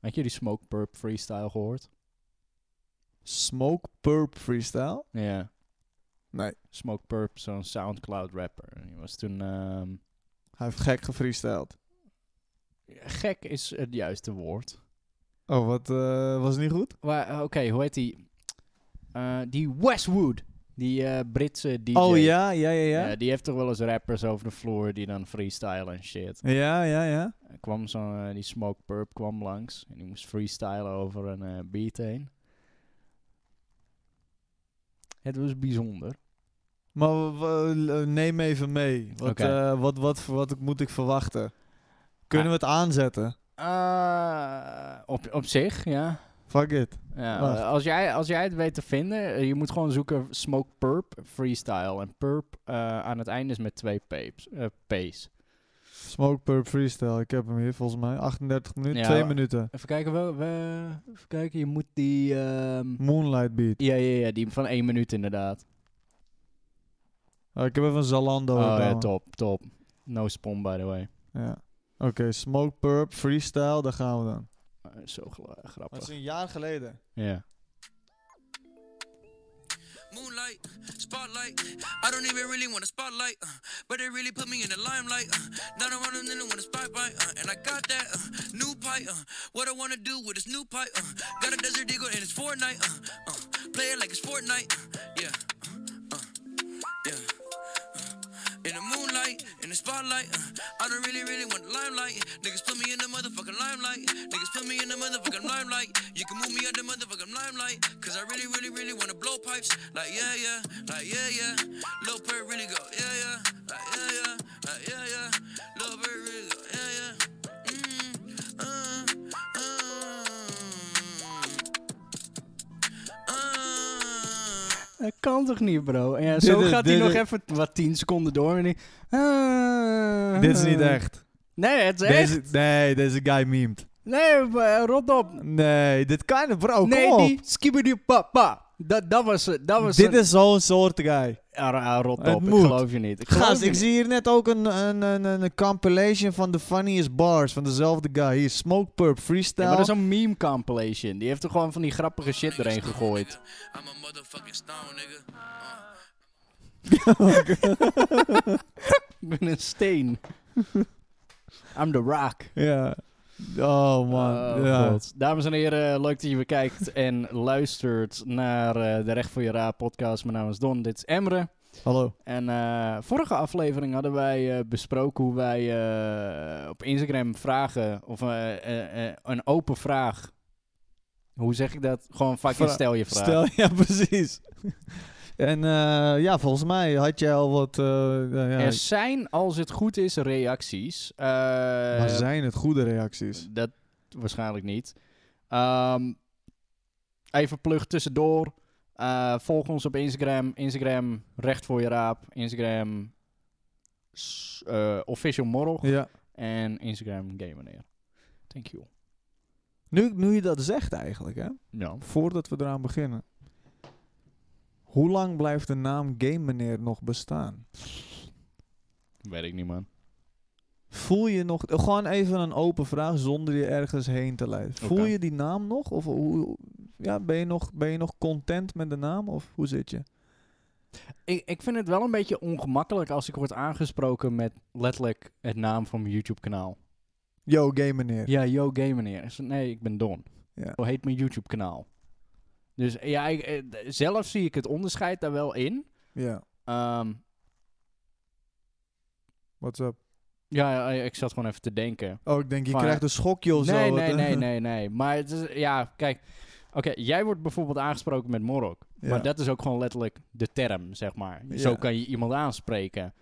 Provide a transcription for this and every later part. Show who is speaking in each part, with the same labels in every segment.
Speaker 1: Had je die Smoke Purp freestyle gehoord?
Speaker 2: Smoke Purp Freestyle?
Speaker 1: Ja.
Speaker 2: Nee.
Speaker 1: Smoke Purp, zo'n Soundcloud rapper. En Die was toen... ehm,
Speaker 2: Hij heeft gek gefreestyled.
Speaker 1: gek is het juiste woord.
Speaker 2: Oh, wat eh, was niet goed?
Speaker 1: Maar eh, oké, hoe heet die? Eh, die Westwood. Die eh, Britse DJ.
Speaker 2: Oh ja, ja, ja,
Speaker 1: Ja,
Speaker 2: ja.
Speaker 1: die heeft toch wel eens rappers over de vloer die dan freestylen en shit.
Speaker 2: Ja, ja, ja.
Speaker 1: Er kwam zo'n, eh, die Smoke Purp kwam langs en die moest freestylen over een eh, beat heen. Het was bijzonder.
Speaker 2: Maar w- w- eh, neem even mee. Wat,
Speaker 1: Oké.
Speaker 2: eh, wat, wat, wat, moet ik verwachten? Kunnen
Speaker 1: Ah.
Speaker 2: we het aanzetten?
Speaker 1: Eh, op, op zich, ja.
Speaker 2: Fuck it.
Speaker 1: ja
Speaker 2: Wacht.
Speaker 1: eh, als, jij, als jij het weet te vinden, eh, je moet gewoon zoeken Smoke Purp freestyle. En Purp eh, aan het einde is met twee peeps, eh, P's.
Speaker 2: Smoke Purp Freestyle. Ik heb hem hier volgens mij. 38 minuten.
Speaker 1: Ja,
Speaker 2: 2
Speaker 1: wa-
Speaker 2: minuten.
Speaker 1: Even kijken, wel, we, even kijken, je moet die... ehm,
Speaker 2: Moonlight Beat.
Speaker 1: ja, ja, ja, die van één minuut inderdaad.
Speaker 2: Oh, ik heb even een Zalando.
Speaker 1: oh
Speaker 2: gedaan.
Speaker 1: ja, top, top. No spawn, by the way.
Speaker 2: Ja. Oké, Smoke Purp Freestyle. Daar gaan we dan.
Speaker 1: Eh, zo gla- grappig.
Speaker 2: Dat is een jaar geleden.
Speaker 1: Ja.
Speaker 3: Moonlight, spotlight. I don't even really want a spotlight, uh, but they really put me in the limelight. Uh, now I'm running in with a spotlight, uh, and I got that uh, new pipe. Uh, what I wanna do with this new pipe? Uh, got a desert eagle and it's Fortnite. Uh, uh, play it like it's Fortnite. uh, yeah, uh, uh, yeah. uh, In the moonlight, in the spotlight, uh, I don't really, really want the limelight. Niggas put me in the motherfucking limelight. Niggas put me in the motherfucking limelight. You can move me out the motherfucking limelight. Cause I really, really, really wanna blow pipes. Like, yeah, yeah, like, yeah, yeah. Lil Bird really go, yeah, yeah, like, yeah, yeah, like, yeah, yeah. Lil Bird really go, yeah, yeah. Mm, uh, uh, uh.
Speaker 1: Dat kan toch niet, bro? En ja, zo
Speaker 2: is-
Speaker 1: gaat hij
Speaker 2: dit
Speaker 1: nog
Speaker 2: is-
Speaker 1: even wat 10 seconden door. En die, Ah.
Speaker 2: Dit is niet echt.
Speaker 1: Nee, het is echt.
Speaker 2: Deze, nee, deze guy memed.
Speaker 1: Nee, eh, rot op.
Speaker 2: Nee, dit kan je, bro.
Speaker 1: nee,
Speaker 2: Oh, kom op.
Speaker 1: die skibidi papa. Dat, dat was het. Dat was
Speaker 2: Dit
Speaker 1: een-
Speaker 2: is zo'n soort guy.
Speaker 1: Ah, ah, rot op.
Speaker 2: Het
Speaker 1: ik
Speaker 2: moet.
Speaker 1: geloof je niet. Ik geloof
Speaker 2: Gast,
Speaker 1: je
Speaker 2: ik
Speaker 1: niet.
Speaker 2: zie hier net ook een, een, een, een- een compilation van de funniest bars van dezelfde guy. Hier, Smoke Purp Freestyle.
Speaker 1: Ja, maar dat is een meme compilation. Die heeft er gewoon van die grappige shit erin gegooid.
Speaker 3: I'm a motherfucking stone, nigga. Uh.
Speaker 1: Ik ben een steen. I'm the rock.
Speaker 2: Ja. Oh man.
Speaker 1: Oh,
Speaker 2: ja.
Speaker 1: God. Dames en heren, leuk dat je weer kijkt en luistert naar eh, de Recht voor je Raad podcast. Mijn naam is Don, dit is Emre.
Speaker 2: Hallo.
Speaker 1: En eh, vorige aflevering hadden wij eh, besproken hoe wij eh, op Instagram vragen, of eh, eh, eh, een open vraag. Hoe zeg ik dat? Gewoon fucking
Speaker 2: Vra-
Speaker 1: stel je vraag.
Speaker 2: Stel, ja precies. en eh, ja, volgens mij had jij al wat... eh, nou ja,
Speaker 1: Er zijn, als het goed is, reacties. Eh,
Speaker 2: maar zijn het goede reacties?
Speaker 1: Dat waarschijnlijk niet. Ehm, even plug tussendoor. Eh, volg ons op Instagram. Instagram recht voor je raap. Instagram s- eh, official morrel.
Speaker 2: Ja.
Speaker 1: En Instagram gamer. Thank you.
Speaker 2: Nu, nu je dat zegt eigenlijk, hè.
Speaker 1: Ja.
Speaker 2: Voordat we eraan beginnen. Hoe lang blijft de naam Game Meneer nog bestaan?
Speaker 1: Weet ik niet, man.
Speaker 2: Voel je nog... eh, Gewoon even een open vraag zonder je ergens heen te leiden. Voel
Speaker 1: Oké.
Speaker 2: je die naam nog? Of hoe, ja, ben, je nog, ben je nog content met de naam? Of hoe zit je?
Speaker 1: Ik, ik vind het wel een beetje ongemakkelijk als ik word aangesproken met letterlijk het naam van mijn YouTube-kanaal.
Speaker 2: Yo, Game Meneer.
Speaker 1: Ja, yo, game meneer. Ik zeg, Nee, ik ben Don.
Speaker 2: Ja.
Speaker 1: Zo heet mijn YouTube-kanaal. Dus ja, ik, eh, d- zelf zie ik het onderscheid daar wel in.
Speaker 2: Ja,
Speaker 1: Ehm,
Speaker 2: what's up?
Speaker 1: ja, ja, ik zat gewoon even te denken.
Speaker 2: Oh, ik denk, je
Speaker 1: Maar-
Speaker 2: krijgt een schokje of zo.
Speaker 1: nee,
Speaker 2: Wat,
Speaker 1: nee,
Speaker 2: eh,
Speaker 1: nee, nee, nee. Maar het is, ja, kijk. Oké, jij wordt bijvoorbeeld aangesproken met Morok.
Speaker 2: Ja.
Speaker 1: Maar dat is ook gewoon letterlijk de term, zeg maar.
Speaker 2: Ja.
Speaker 1: Zo kan je iemand aanspreken.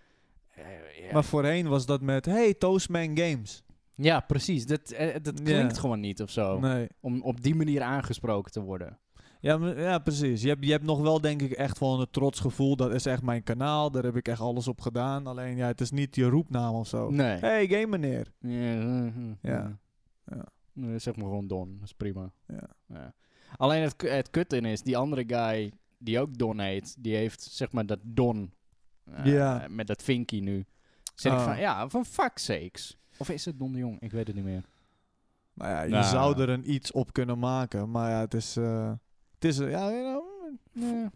Speaker 1: Eh, ja.
Speaker 2: Maar voorheen was dat met, hey, Toastman Games.
Speaker 1: ja, precies. Dat, eh, dat
Speaker 2: Ja.
Speaker 1: klinkt gewoon niet of zo.
Speaker 2: Nee.
Speaker 1: Om op die manier aangesproken te worden.
Speaker 2: Ja, maar- ja, precies. Je hebt, je hebt nog wel, denk ik, echt gewoon een trots gevoel. Dat is echt mijn kanaal. Daar heb ik echt alles op gedaan. Alleen, ja, het is niet je roepnaam of zo.
Speaker 1: Nee.
Speaker 2: Hey, Game Meneer.
Speaker 1: Ja. eh,
Speaker 2: Ja.
Speaker 1: eh.
Speaker 2: Ja.
Speaker 1: Nee, Zeg maar gewoon Don, dat is prima.
Speaker 2: Ja.
Speaker 1: Alleen het, ku- het kut in is, die andere guy die ook Don heet, die heeft zeg maar dat Don. eh,
Speaker 2: Ja.
Speaker 1: Met dat vinkie nu. Zit ik
Speaker 2: Oh.
Speaker 1: van, ja, van fuck sakes. Of is het Don de Jong? Ik weet het niet meer.
Speaker 2: Nou ja, je
Speaker 1: Nou.
Speaker 2: zou er een iets op kunnen maken. Maar ja, het is... eh, het is eh, ja, you know,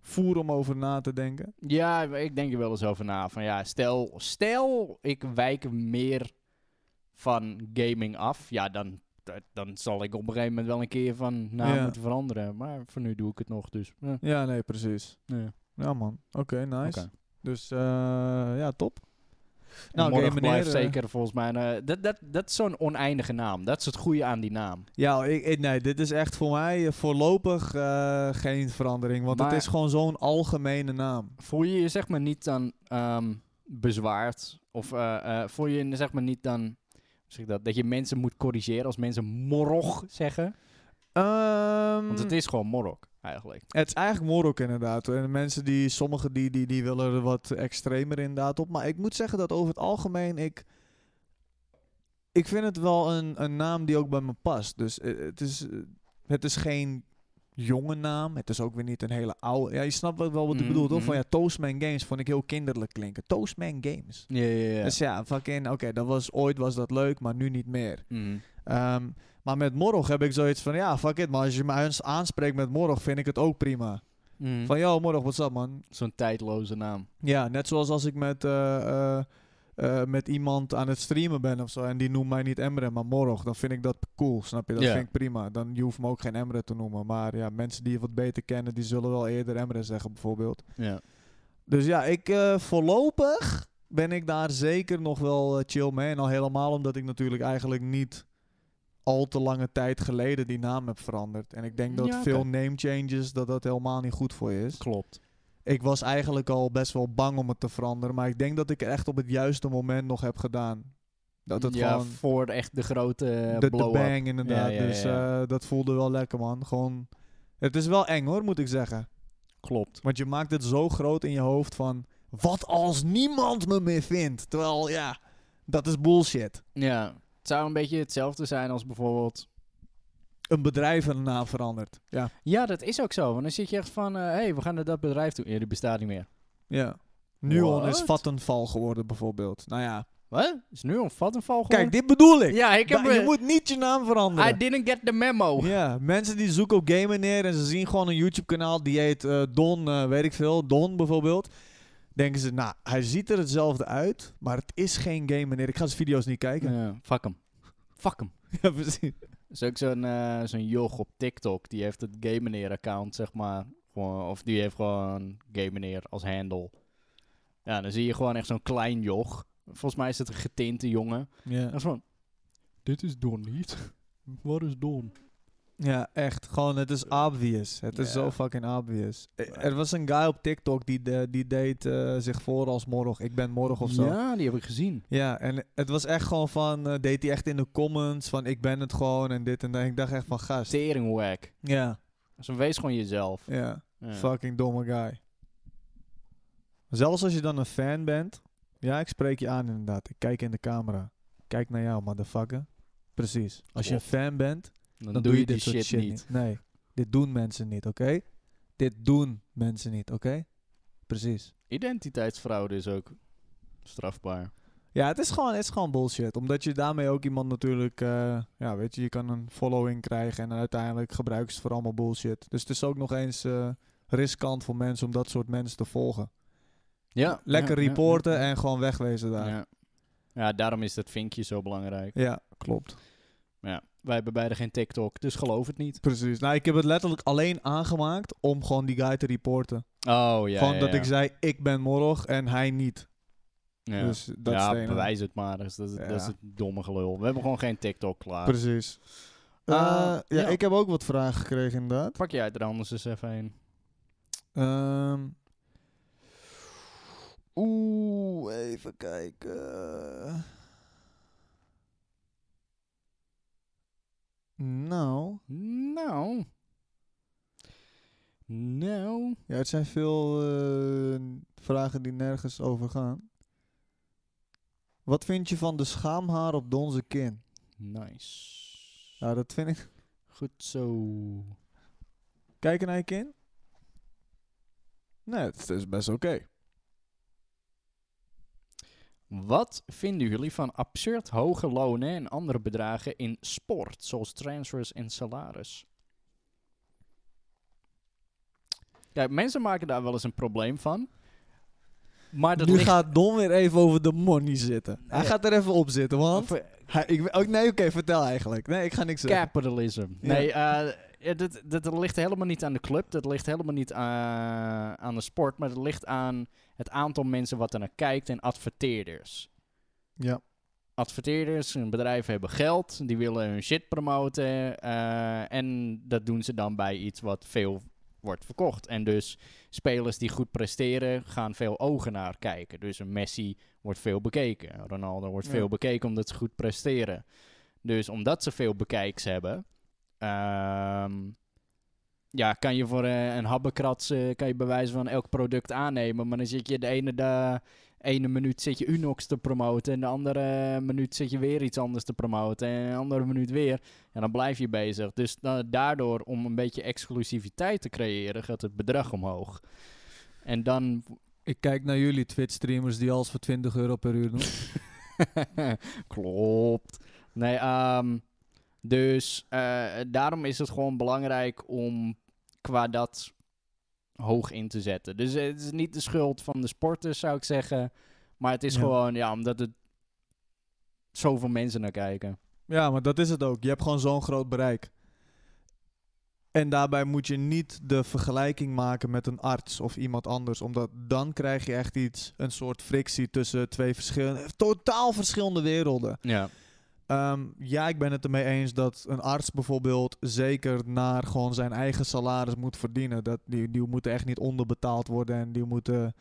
Speaker 2: voer om over na te denken.
Speaker 1: Ja, ik denk er wel eens over na. Van ja, stel, stel ik wijk meer van gaming af. Ja, dan, dat- dan zal ik op een gegeven moment wel een keer van naam
Speaker 2: Ja.
Speaker 1: moeten veranderen. Maar voor nu doe ik het nog, dus... Ja,
Speaker 2: Ja, nee, precies.
Speaker 1: ja.
Speaker 2: Ja, man. Oké, nice.
Speaker 1: Oké.
Speaker 2: Dus eh, ja, top.
Speaker 1: Nou,
Speaker 2: Nou, oké,
Speaker 1: morgen blijft
Speaker 2: meneer, eh,
Speaker 1: zeker volgens mij... eh, dat, dat, dat is zo'n oneindige naam. Dat is het goede aan die naam.
Speaker 2: Ja, ik, ik- nee, dit is echt voor mij eh, voorlopig eh, geen verandering. Want
Speaker 1: Maar-
Speaker 2: het is gewoon zo'n algemene naam.
Speaker 1: Voel je je zeg maar niet aan ehm, bezwaard? Of eh, eh, voel je je zeg maar niet aan... hoe zeg ik dat, dat je mensen moet corrigeren als mensen morog zeggen? Want het
Speaker 2: het, is...
Speaker 1: is gewoon morog, eigenlijk.
Speaker 2: eigenlijk Morok inderdaad. En mensen die, sommigen die, die, die willen er wat extremer inderdaad op. Maar ik moet zeggen dat over het algemeen ik... Ik vind het wel een, een naam die ook bij me past. Dus eh, het, is, eh, het is geen jonge naam. Het is ook weer niet een hele oude... Ja, je snapt wel wat ik
Speaker 1: Mhm,
Speaker 2: bedoel, toch? Van
Speaker 1: mhm.
Speaker 2: ja, Toastman Games vond ik heel kinderlijk klinken. Toastman Games.
Speaker 1: Ja, ja, ja.
Speaker 2: Dus ja, fucking, oké, dat was, ooit was dat leuk, maar nu niet meer.
Speaker 1: Mm.
Speaker 2: Ehm, maar met Morog heb ik zoiets van, ja, fuck it, maar als je me eens aanspreekt met Morog, vind ik het ook prima.
Speaker 1: Mm.
Speaker 2: Van, yo, Morog, what's up, man?
Speaker 1: Zo'n tijdloze naam.
Speaker 2: Ja, net zoals als ik met, eh, eh, eh, met iemand aan het streamen ben of zo, en die noemt mij niet Emre, maar Morog, dan vind ik dat cool, snap je? Dat
Speaker 1: Ja.
Speaker 2: vind ik prima. Dan je hoeft me ook geen Emre te noemen. Maar ja, mensen die je wat beter kennen, die zullen wel eerder Emre zeggen, bijvoorbeeld.
Speaker 1: Ja.
Speaker 2: Dus ja, ik eh, voorlopig ben ik daar zeker nog wel eh, chill mee. En al helemaal omdat ik natuurlijk eigenlijk niet al te lange tijd geleden die naam heb veranderd. En ik denk dat
Speaker 1: Ja, oké.
Speaker 2: veel name changes, dat dat helemaal niet goed voor je is.
Speaker 1: Klopt.
Speaker 2: Ik was eigenlijk al best wel bang om het te veranderen. Maar ik denk dat ik het echt op het juiste moment nog heb gedaan. Dat het
Speaker 1: ja,
Speaker 2: gewoon...
Speaker 1: voor echt de grote
Speaker 2: De, de
Speaker 1: blow-up.
Speaker 2: bang inderdaad.
Speaker 1: Ja, ja,
Speaker 2: Dus
Speaker 1: ja.
Speaker 2: eh, dat voelde wel lekker man. Gewoon... Het is wel eng hoor, moet ik zeggen.
Speaker 1: Klopt.
Speaker 2: Want je maakt het zo groot in je hoofd van... Wat als niemand me meer vindt? Terwijl, ja, dat is bullshit.
Speaker 1: Ja. Het zou een beetje hetzelfde zijn als bijvoorbeeld...
Speaker 2: Een bedrijf een naam verandert. Ja,
Speaker 1: Ja, dat is ook zo. Want dan zit je echt van... Hé, hey, we gaan naar dat bedrijf toe. Ja, die bestaat niet meer.
Speaker 2: ja. Nuon is
Speaker 1: What?
Speaker 2: Vattenfall geworden bijvoorbeeld. Nou ja,
Speaker 1: Wat? Is nu een Vattenfall
Speaker 2: kijk,
Speaker 1: geworden?
Speaker 2: dit bedoel ik.
Speaker 1: Ja, ik heb...
Speaker 2: Da- je
Speaker 1: eh,
Speaker 2: moet niet je naam
Speaker 1: I
Speaker 2: veranderen.
Speaker 1: didn't get the memo.
Speaker 2: Ja, mensen die zoeken op gamen neer en ze zien gewoon een YouTube-kanaal die heet eh, Don, eh, weet ik veel, Don bijvoorbeeld. Denken ze, nou, hij ziet er hetzelfde uit, maar het is geen gamer neer. Ik ga zijn video's niet kijken.
Speaker 1: Ja, fuck hem. Fuck hem.
Speaker 2: ja precies.
Speaker 1: Er is ook zo'n eh zo'n joch op TikTok. Die heeft het Game Meneer account, zeg maar. Gewoon, of die heeft gewoon Game Meneer als handle. Ja, dan zie je gewoon echt zo'n klein joch. Volgens mij is het een getinte jongen.
Speaker 2: Ja.
Speaker 1: Dat is van... Dit is Don niet. Wat is Don?
Speaker 2: Ja, echt. Gewoon, het is obvious. Het is
Speaker 1: Ja.
Speaker 2: zo fucking obvious. Eh, Er was een guy op TikTok die, de, die deed eh, zich voor als morg. Ik ben morg of zo. Ja?
Speaker 1: Ja, die heb ik gezien.
Speaker 2: en het was echt gewoon van, eh, deed hij echt in de comments van ik ben het gewoon en dit en dat. Ik dacht echt van gast.
Speaker 1: Teringwack.
Speaker 2: Ja,
Speaker 1: Dus wees gewoon jezelf.
Speaker 2: ja,
Speaker 1: Ja.
Speaker 2: fucking domme guy. Zelfs als je dan een fan bent. Ja, ik spreek je aan inderdaad. Ik kijk in de camera. Ik Kijk naar jou, motherfucker. Precies. Als je een fan bent,
Speaker 1: Dan, doe je, dit shit, niet.
Speaker 2: Nee, dit doen mensen niet, oké? Dit doen mensen niet, oké? Precies.
Speaker 1: Identiteitsfraude is ook strafbaar.
Speaker 2: Ja, het is, gewoon, het is gewoon bullshit. Omdat je daarmee ook iemand natuurlijk... eh, ja, weet je, je kan een following krijgen... en dan uiteindelijk gebruiken ze het voor allemaal bullshit. Dus het is ook nog eens eh, riskant voor mensen... om dat soort mensen te volgen.
Speaker 1: Ja.
Speaker 2: Lekker
Speaker 1: ja, ja,
Speaker 2: reporten
Speaker 1: ja.
Speaker 2: en gewoon wegwezen daar. Ja,
Speaker 1: Ja. ja, daarom is dat vinkje zo belangrijk.
Speaker 2: klopt.
Speaker 1: Maar ja, wij hebben beide geen TikTok, dus geloof het niet.
Speaker 2: Precies. Nou, ik heb het letterlijk alleen aangemaakt... om gewoon die guy te reporten.
Speaker 1: Oh ja.
Speaker 2: gewoon
Speaker 1: ja,
Speaker 2: dat
Speaker 1: ja.
Speaker 2: ik zei, ik ben Morog en hij niet.
Speaker 1: Ja,
Speaker 2: Dus dat is
Speaker 1: ja
Speaker 2: het enige.
Speaker 1: bewijs het maar. eens. Dat is, dat is
Speaker 2: Ja.
Speaker 1: het domme gelul. We hebben gewoon geen TikTok klaar.
Speaker 2: Precies. Eh,
Speaker 1: Eh,
Speaker 2: ja,
Speaker 1: ja.
Speaker 2: ik heb ook wat vragen gekregen inderdaad.
Speaker 1: Pak jij er anders eens even een.
Speaker 2: Ehm, Oeh, even kijken. Nou,
Speaker 1: Nou. Nou.
Speaker 2: ja, het zijn veel eh, vragen die nergens over gaan. Wat vind je van de schaamhaar op Donze kin?
Speaker 1: Nice.
Speaker 2: Ja, dat vind ik.
Speaker 1: Goed zo.
Speaker 2: Kijken naar je kin? Nee, het is best oké.
Speaker 1: Wat vinden jullie van absurd hoge lonen en andere bedragen in sport, zoals transfers en salaris? Kijk, mensen maken daar wel eens een probleem van. Maar dat
Speaker 2: nu
Speaker 1: ligt...
Speaker 2: gaat Don weer even over de money zitten. Hij
Speaker 1: Nee.
Speaker 2: gaat er even op zitten, want...
Speaker 1: Of-
Speaker 2: Hij, ik, we- oh, nee, oké, vertel eigenlijk. Nee, ik ga niks zeggen.
Speaker 1: Capitalism.
Speaker 2: Ja.
Speaker 1: Nee, eh, ja, dat, dat, dat ligt helemaal niet aan de club. Dat ligt helemaal niet aan- aan de sport. Maar dat ligt aan het aantal mensen wat er naar kijkt en adverteerders.
Speaker 2: Ja.
Speaker 1: Adverteerders en bedrijven hebben geld. Die willen hun shit promoten. eh, en dat doen ze dan bij iets wat veel wordt verkocht. En dus spelers die goed presteren gaan veel ogen naar kijken. Dus een Messi wordt veel bekeken. Ronaldo wordt
Speaker 2: Ja.
Speaker 1: veel bekeken omdat ze goed presteren. Dus omdat ze veel bekijks hebben, ehm, ja, kan je voor eh, een habbekrats eh, kan je bij wijze van elk product aannemen. Maar dan zit je de ene, da- ene minuut zit je Unox te promoten en de andere minuut zit je weer iets anders te promoten en de andere minuut weer. En dan blijf je bezig. Dus da- daardoor, om een beetje exclusiviteit te creëren, gaat het bedrag omhoog. En dan
Speaker 2: Ik kijk naar jullie Twitch-streamers die alles voor 20 euro per uur doen.
Speaker 1: Klopt. Nee, ehm, dus eh, daarom is het gewoon belangrijk om qua dat hoog in te zetten. Dus eh, het is niet de schuld van de sporters, zou ik zeggen. Maar het is
Speaker 2: Ja.
Speaker 1: gewoon, ja, omdat het zoveel mensen naar kijken.
Speaker 2: ja, maar dat is het ook. Je hebt gewoon zo'n groot bereik. En daarbij moet je niet de vergelijking maken met een arts of iemand anders. Omdat dan krijg je echt iets, een soort frictie tussen twee verschillende, totaal verschillende werelden.
Speaker 1: Ja.
Speaker 2: Ehm, ja, ik ben het ermee eens dat een arts bijvoorbeeld zeker naar gewoon zijn eigen salaris moet verdienen. Dat, die, die moeten echt niet onderbetaald worden en die moeten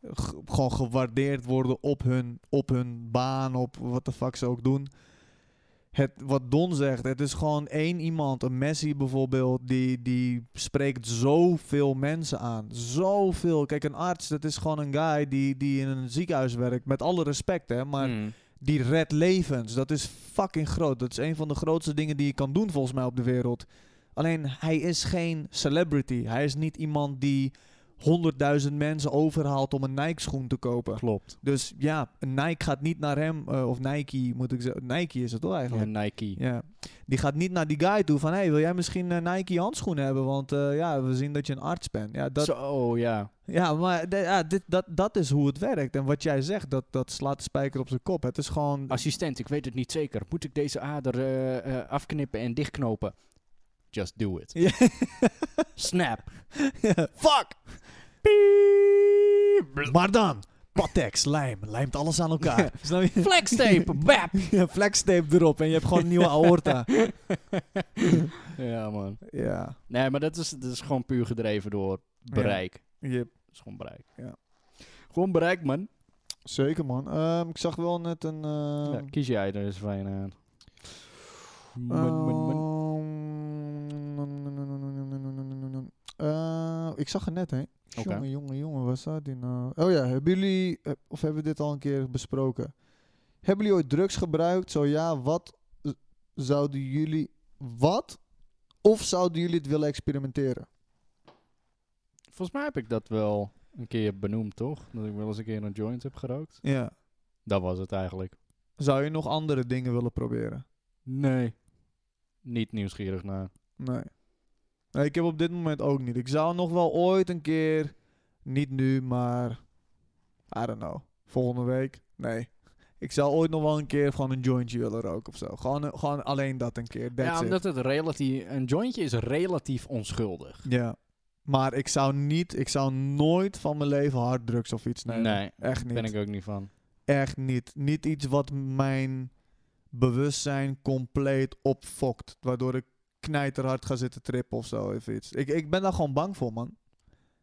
Speaker 2: eh, g- gewoon gewaardeerd worden op hun, op hun baan, op wat de fuck ze ook doen. Het, wat Don zegt, het is gewoon één iemand, een Messi bijvoorbeeld, die, die spreekt zoveel mensen aan. Zoveel. Kijk, een arts, dat is gewoon een guy die, die in een ziekenhuis werkt. Met alle respect, hè, maar
Speaker 1: Mm.
Speaker 2: die redt levens. Dat is fucking groot. Dat is een van de grootste dingen die je kan doen volgens mij op de wereld. Alleen hij is geen celebrity. Hij is niet iemand die 100.000 mensen overhaalt om een Nike schoen te kopen.
Speaker 1: Klopt.
Speaker 2: Dus ja, een Nike gaat niet naar hem, eh, of Nike moet ik zeggen. Nike is het toch eigenlijk?
Speaker 1: En Nike.
Speaker 2: Ja. Die gaat niet naar die guy toe van, hey, wil jij misschien eh, Nike handschoenen hebben? Want eh, ja, we zien dat je een arts bent. Ja, dat,
Speaker 1: Zo, ja.
Speaker 2: ja, maar de- ja, dit, dat, dat is hoe het werkt. En wat jij zegt, dat, dat slaat de spijker op zijn kop. Het is gewoon
Speaker 1: Assistent, ik weet het niet zeker. Moet ik deze ader eh, eh, afknippen en dichtknopen? Just do it.
Speaker 2: Ja.
Speaker 1: Snap.
Speaker 2: Fuck! Maar dan, Patex, lijm, lijmt alles aan elkaar. Snap je?
Speaker 1: Flextape, bap.
Speaker 2: Ja, flextape erop en je hebt gewoon een nieuwe aorta.
Speaker 1: ja, man.
Speaker 2: Ja.
Speaker 1: Nee, maar dat is, dat is gewoon puur gedreven door bereik.
Speaker 2: Yep.
Speaker 1: Dat is gewoon bereik.
Speaker 2: Ja.
Speaker 1: Gewoon bereik, man.
Speaker 2: Zeker man. Ehm, ik zag wel net een... ehm,
Speaker 1: Ja, kies jij er eens van eh. je aan.
Speaker 2: Oh. ehm, eh, ik zag er net heen.
Speaker 1: Oké.
Speaker 2: Jongen, jongen, jongen, waar staat die nou? Oh ja, hebben jullie, eh, of hebben we dit al een keer besproken? Hebben jullie ooit drugs gebruikt? Zo ja, wat eh, zouden jullie, wat? Of zouden jullie het willen experimenteren?
Speaker 1: Volgens mij heb ik dat wel een keer benoemd, toch? Dat ik wel eens een keer een joint heb gerookt.
Speaker 2: Ja.
Speaker 1: Dat was het eigenlijk.
Speaker 2: Zou je nog andere dingen willen proberen?
Speaker 1: Nee. Niet nieuwsgierig naar.
Speaker 2: Nee. nee. Ik heb op dit moment ook niet. Ik zou nog wel ooit een keer, niet nu, maar I don't know, volgende week. Nee. Ik zou ooit nog wel een keer gewoon een jointje willen roken of zo. Gewoon, eh, gewoon alleen dat een keer. That's
Speaker 1: ja,
Speaker 2: it.
Speaker 1: omdat het relatief... Een jointje is relatief onschuldig.
Speaker 2: Ja. Maar ik zou niet, ik zou nooit van mijn leven harddrugs of iets
Speaker 1: Nee,
Speaker 2: nemen. echt niet.
Speaker 1: ben ik ook niet van.
Speaker 2: Echt niet. Niet iets wat mijn bewustzijn compleet opfokt. Waardoor ik knijterhard ga zitten trippen of zo. Of iets. Ik, ik ben daar gewoon bang voor, man.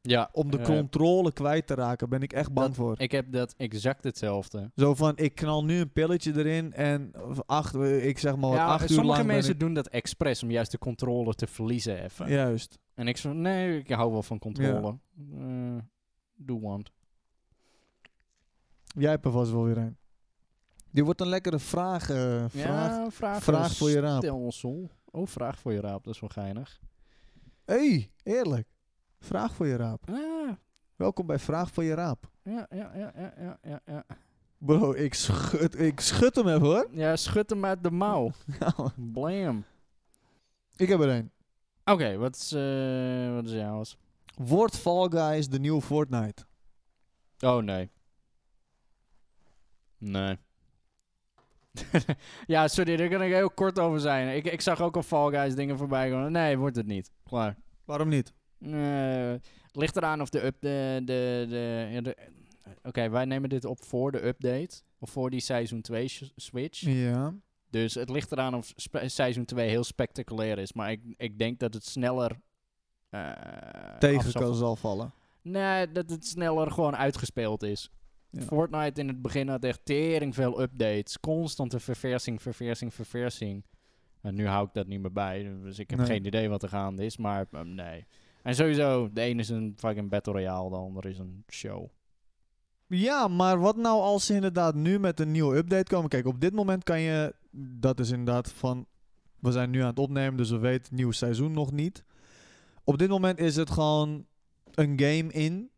Speaker 1: Ja,
Speaker 2: Om de
Speaker 1: eh,
Speaker 2: controle kwijt te raken ben ik echt bang
Speaker 1: dat-
Speaker 2: voor.
Speaker 1: Ik heb dat exact hetzelfde.
Speaker 2: Zo van, ik knal nu een pilletje erin en acht, eh, ik zeg maar wat,
Speaker 1: ja,
Speaker 2: acht uur lang
Speaker 1: sommige
Speaker 2: ben
Speaker 1: mensen
Speaker 2: ik-
Speaker 1: doen dat expres om juist de controle te verliezen even.
Speaker 2: Juist.
Speaker 1: En ik zo, nee, ik hou wel van controle. Eh, doe want.
Speaker 2: Jij hebt er vast wel weer een. Dit wordt een lekkere vraag, eh, vraag
Speaker 1: ja, vraag,
Speaker 2: vraag voor je raap.
Speaker 1: Stelsel. Oh, vraag voor je raap, dat is wel geinig.
Speaker 2: Hey, eerlijk. Vraag voor je raap.
Speaker 1: Ah,
Speaker 2: Welkom bij Vraag voor je raap.
Speaker 1: ja, ja, ja, ja, ja, ja, ja.
Speaker 2: Bro, ik schud, ik schud hem even hoor.
Speaker 1: Ja, schud hem uit de mouw.
Speaker 2: Nou,
Speaker 1: Blam.
Speaker 2: ik heb er een.
Speaker 1: Oké, wat is, eh, wat is jouw?
Speaker 2: Wordt Fall Guys de nieuwe Fortnite?
Speaker 1: Oh nee. Nee. ja, sorry, daar kan ik heel kort over zijn. Ik, ik zag ook al Fall Guys dingen voorbij komen. Nee, wordt het niet. Klaar.
Speaker 2: Waarom niet?
Speaker 1: Eh, het ligt eraan of de up de, de, de, ja, de- Oké, wij nemen dit op voor de update. Of voor die seizoen 2 s- switch.
Speaker 2: Ja.
Speaker 1: Dus het ligt eraan of spe- seizoen 2 heel spectaculair is. Maar ik, ik denk dat het sneller... eh, af
Speaker 2: Tegen
Speaker 1: zal-
Speaker 2: kan zal vallen.
Speaker 1: Nee, dat het sneller gewoon uitgespeeld is.
Speaker 2: Ja.
Speaker 1: Fortnite in het begin had echt tering veel updates. Constante verversing, verversing, verversing. En nu hou ik dat niet meer bij. Dus ik heb
Speaker 2: Nee.
Speaker 1: geen idee wat er gaande is, maar ehm, nee. En sowieso, de ene is een fucking Battle Royale, de andere is een show.
Speaker 2: Ja, maar wat nou als ze inderdaad nu met een nieuwe update komen? Kijk, op dit moment kan je... Dat is inderdaad van... We zijn nu aan het opnemen, dus we weten het nieuwe seizoen nog niet. Op dit moment is het gewoon een game in.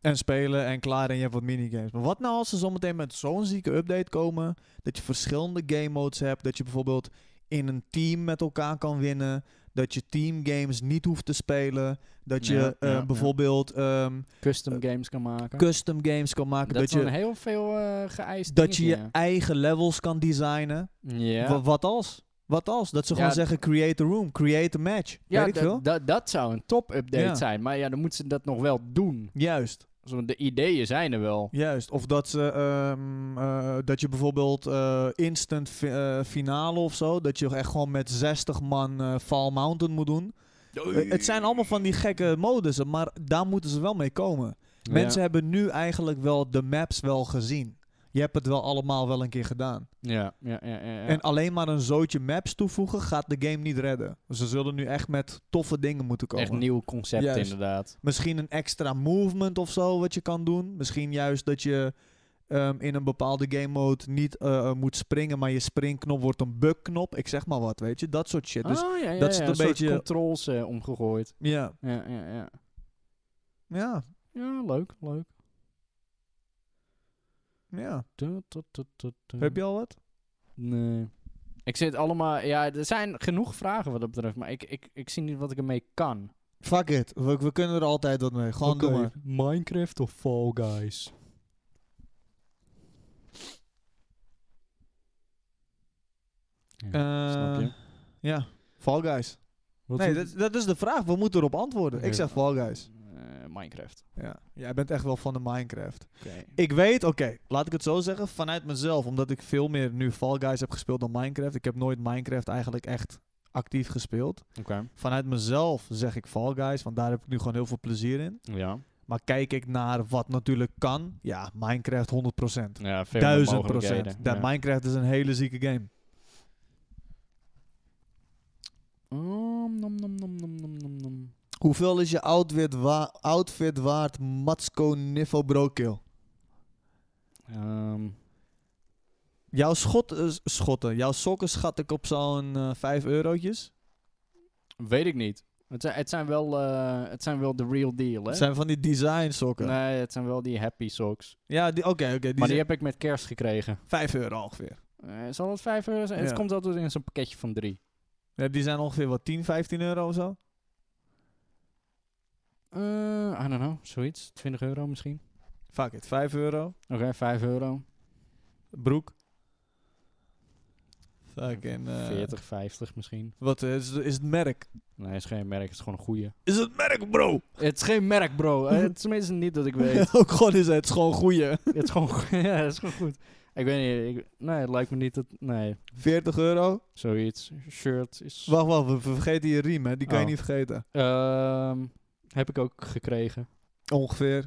Speaker 2: En spelen en klaar en je hebt wat minigames. Maar wat nou als ze zometeen met zo'n zieke update komen... Dat je verschillende game modes hebt. Dat je bijvoorbeeld in een team met elkaar kan winnen. Dat je teamgames niet hoeft te spelen. Dat je
Speaker 1: Ja,
Speaker 2: eh,
Speaker 1: ja, ja.
Speaker 2: bijvoorbeeld... ehm,
Speaker 1: Custom games kan maken.
Speaker 2: custom games kan maken.
Speaker 1: Eh, dat
Speaker 2: Dat,
Speaker 1: is dan
Speaker 2: je,
Speaker 1: heel veel eh geëist
Speaker 2: dat je je
Speaker 1: dingetje.
Speaker 2: eigen levels kan designen.
Speaker 1: Ja,
Speaker 2: Wa- wat als? Wat als? Dat ze
Speaker 1: Ja,
Speaker 2: gewoon zeggen, create a room, create a match.
Speaker 1: ja
Speaker 2: Weet ik
Speaker 1: dat-
Speaker 2: veel.
Speaker 1: dat- dat zou een top-update
Speaker 2: Ja.
Speaker 1: zijn. Maar ja, dan moeten ze dat nog wel doen.
Speaker 2: Juist,
Speaker 1: Zo, De ideeën zijn er wel.
Speaker 2: juist. Of dat, ze, ehm, eh, dat je bijvoorbeeld eh, instant fi- eh, finale of zo, dat je echt gewoon met 60 man eh, Fall Mountain moet doen. Eh, het zijn allemaal van die gekke modussen, maar daar moeten ze wel mee komen. Mensen hebben nu eigenlijk wel de maps wel gezien. Je hebt het wel allemaal wel een keer gedaan.
Speaker 1: Ja, ja, ja. ja, ja.
Speaker 2: En alleen maar een zootje maps toevoegen gaat de game niet redden. Dus Ze zullen nu echt met toffe dingen moeten komen.
Speaker 1: Echt nieuw concept
Speaker 2: Juist.
Speaker 1: inderdaad.
Speaker 2: Misschien een extra movement of zo wat je kan doen. Misschien juist dat je ehm, in een bepaalde game mode niet eh, eh, moet springen, maar je springknop wordt een bugknop. Ik zeg maar wat, weet je. Dat soort shit. Dus
Speaker 1: oh, ja, ja,
Speaker 2: dat is
Speaker 1: ja,
Speaker 2: het een
Speaker 1: soort
Speaker 2: beetje-
Speaker 1: controls eh, omgegooid.
Speaker 2: ja,
Speaker 1: Ja, ja, ja.
Speaker 2: ja,
Speaker 1: Ja, leuk, leuk.
Speaker 2: ja.
Speaker 1: Du- du- du- du- du.
Speaker 2: Heb je al wat?
Speaker 1: Nee. Ik zit allemaal... Ja, er zijn genoeg vragen wat dat betreft, maar ik, ik, ik zie niet wat ik ermee kan.
Speaker 2: Fuck it. We, we kunnen er altijd wat mee. Gewoon doen maar.
Speaker 1: Minecraft of Fall Guys? Snap
Speaker 2: Eh,
Speaker 1: je?
Speaker 2: Ja. Fall Guys. Nee, dat, dat is de vraag. We moeten erop antwoorden. Ik
Speaker 1: Ja.
Speaker 2: zeg Fall Guys.
Speaker 1: Eh, Minecraft.
Speaker 2: Ja. Jij bent echt wel van de Minecraft.
Speaker 1: Oké.
Speaker 2: Ik weet, oké, laat ik het zo zeggen, vanuit mezelf, omdat ik veel meer nu Fall Guys heb gespeeld dan Minecraft. Ik heb nooit Minecraft eigenlijk echt actief gespeeld.
Speaker 1: Oké.
Speaker 2: Vanuit mezelf zeg ik Fall Guys, want daar heb ik nu gewoon heel veel plezier in.
Speaker 1: Ja.
Speaker 2: Maar kijk ik naar wat natuurlijk kan, ja, Minecraft 100%.
Speaker 1: Ja, veel meer
Speaker 2: 1000
Speaker 1: mogelijkheden.
Speaker 2: procent. Dat
Speaker 1: Ja.
Speaker 2: Minecraft is een hele zieke game.
Speaker 1: Om, Ehm, nom, nom, nom, nom, nom, nom, nom.
Speaker 2: Hoeveel is je outfit, wa- outfit waard, Matsko Niffo Brokill?
Speaker 1: Ehm,
Speaker 2: Jouw schot, eh, schotten, jouw sokken schat ik op zo'n eh 5 eurotjes.
Speaker 1: Weet ik niet. Het zijn, het zijn, wel, eh, het zijn wel de real deal, hè?
Speaker 2: Het zijn van die design sokken.
Speaker 1: Nee, het zijn wel die happy socks.
Speaker 2: Ja, die- oké, oké. die
Speaker 1: maar
Speaker 2: zijn
Speaker 1: die heb ik met kerst gekregen.
Speaker 2: 5 euro ongeveer.
Speaker 1: Eh, zal het 5 euro zijn?
Speaker 2: Ja.
Speaker 1: Het komt altijd in zo'n pakketje van 3.
Speaker 2: Ja, die zijn ongeveer wat 10, 15 euro of zo.
Speaker 1: Eh I don't know, zoiets. 20 euro misschien.
Speaker 2: Fuck it, 5 euro.
Speaker 1: Oké, 5 euro.
Speaker 2: Broek. Fucking. eh,
Speaker 1: 40, 50 misschien.
Speaker 2: Wat eh, is, is het merk?
Speaker 1: Nee, het is geen merk, het is gewoon een goeie.
Speaker 2: Is het merk, bro?
Speaker 1: het is geen merk, bro. Eh, het is tenminste niet dat ik weet.
Speaker 2: Ook gewoon is het gewoon goeie.
Speaker 1: het is gewoon, go- ja, het is gewoon goed. Ik weet niet, ik- nee, het lijkt me niet dat, nee,
Speaker 2: 40 euro.
Speaker 1: zoiets. Shirt is...
Speaker 2: Wacht, wacht, we we vergeten je riem, hè? Die kan je
Speaker 1: Oh.
Speaker 2: niet vergeten.
Speaker 1: Ehm, heb ik ook gekregen.
Speaker 2: Ongeveer.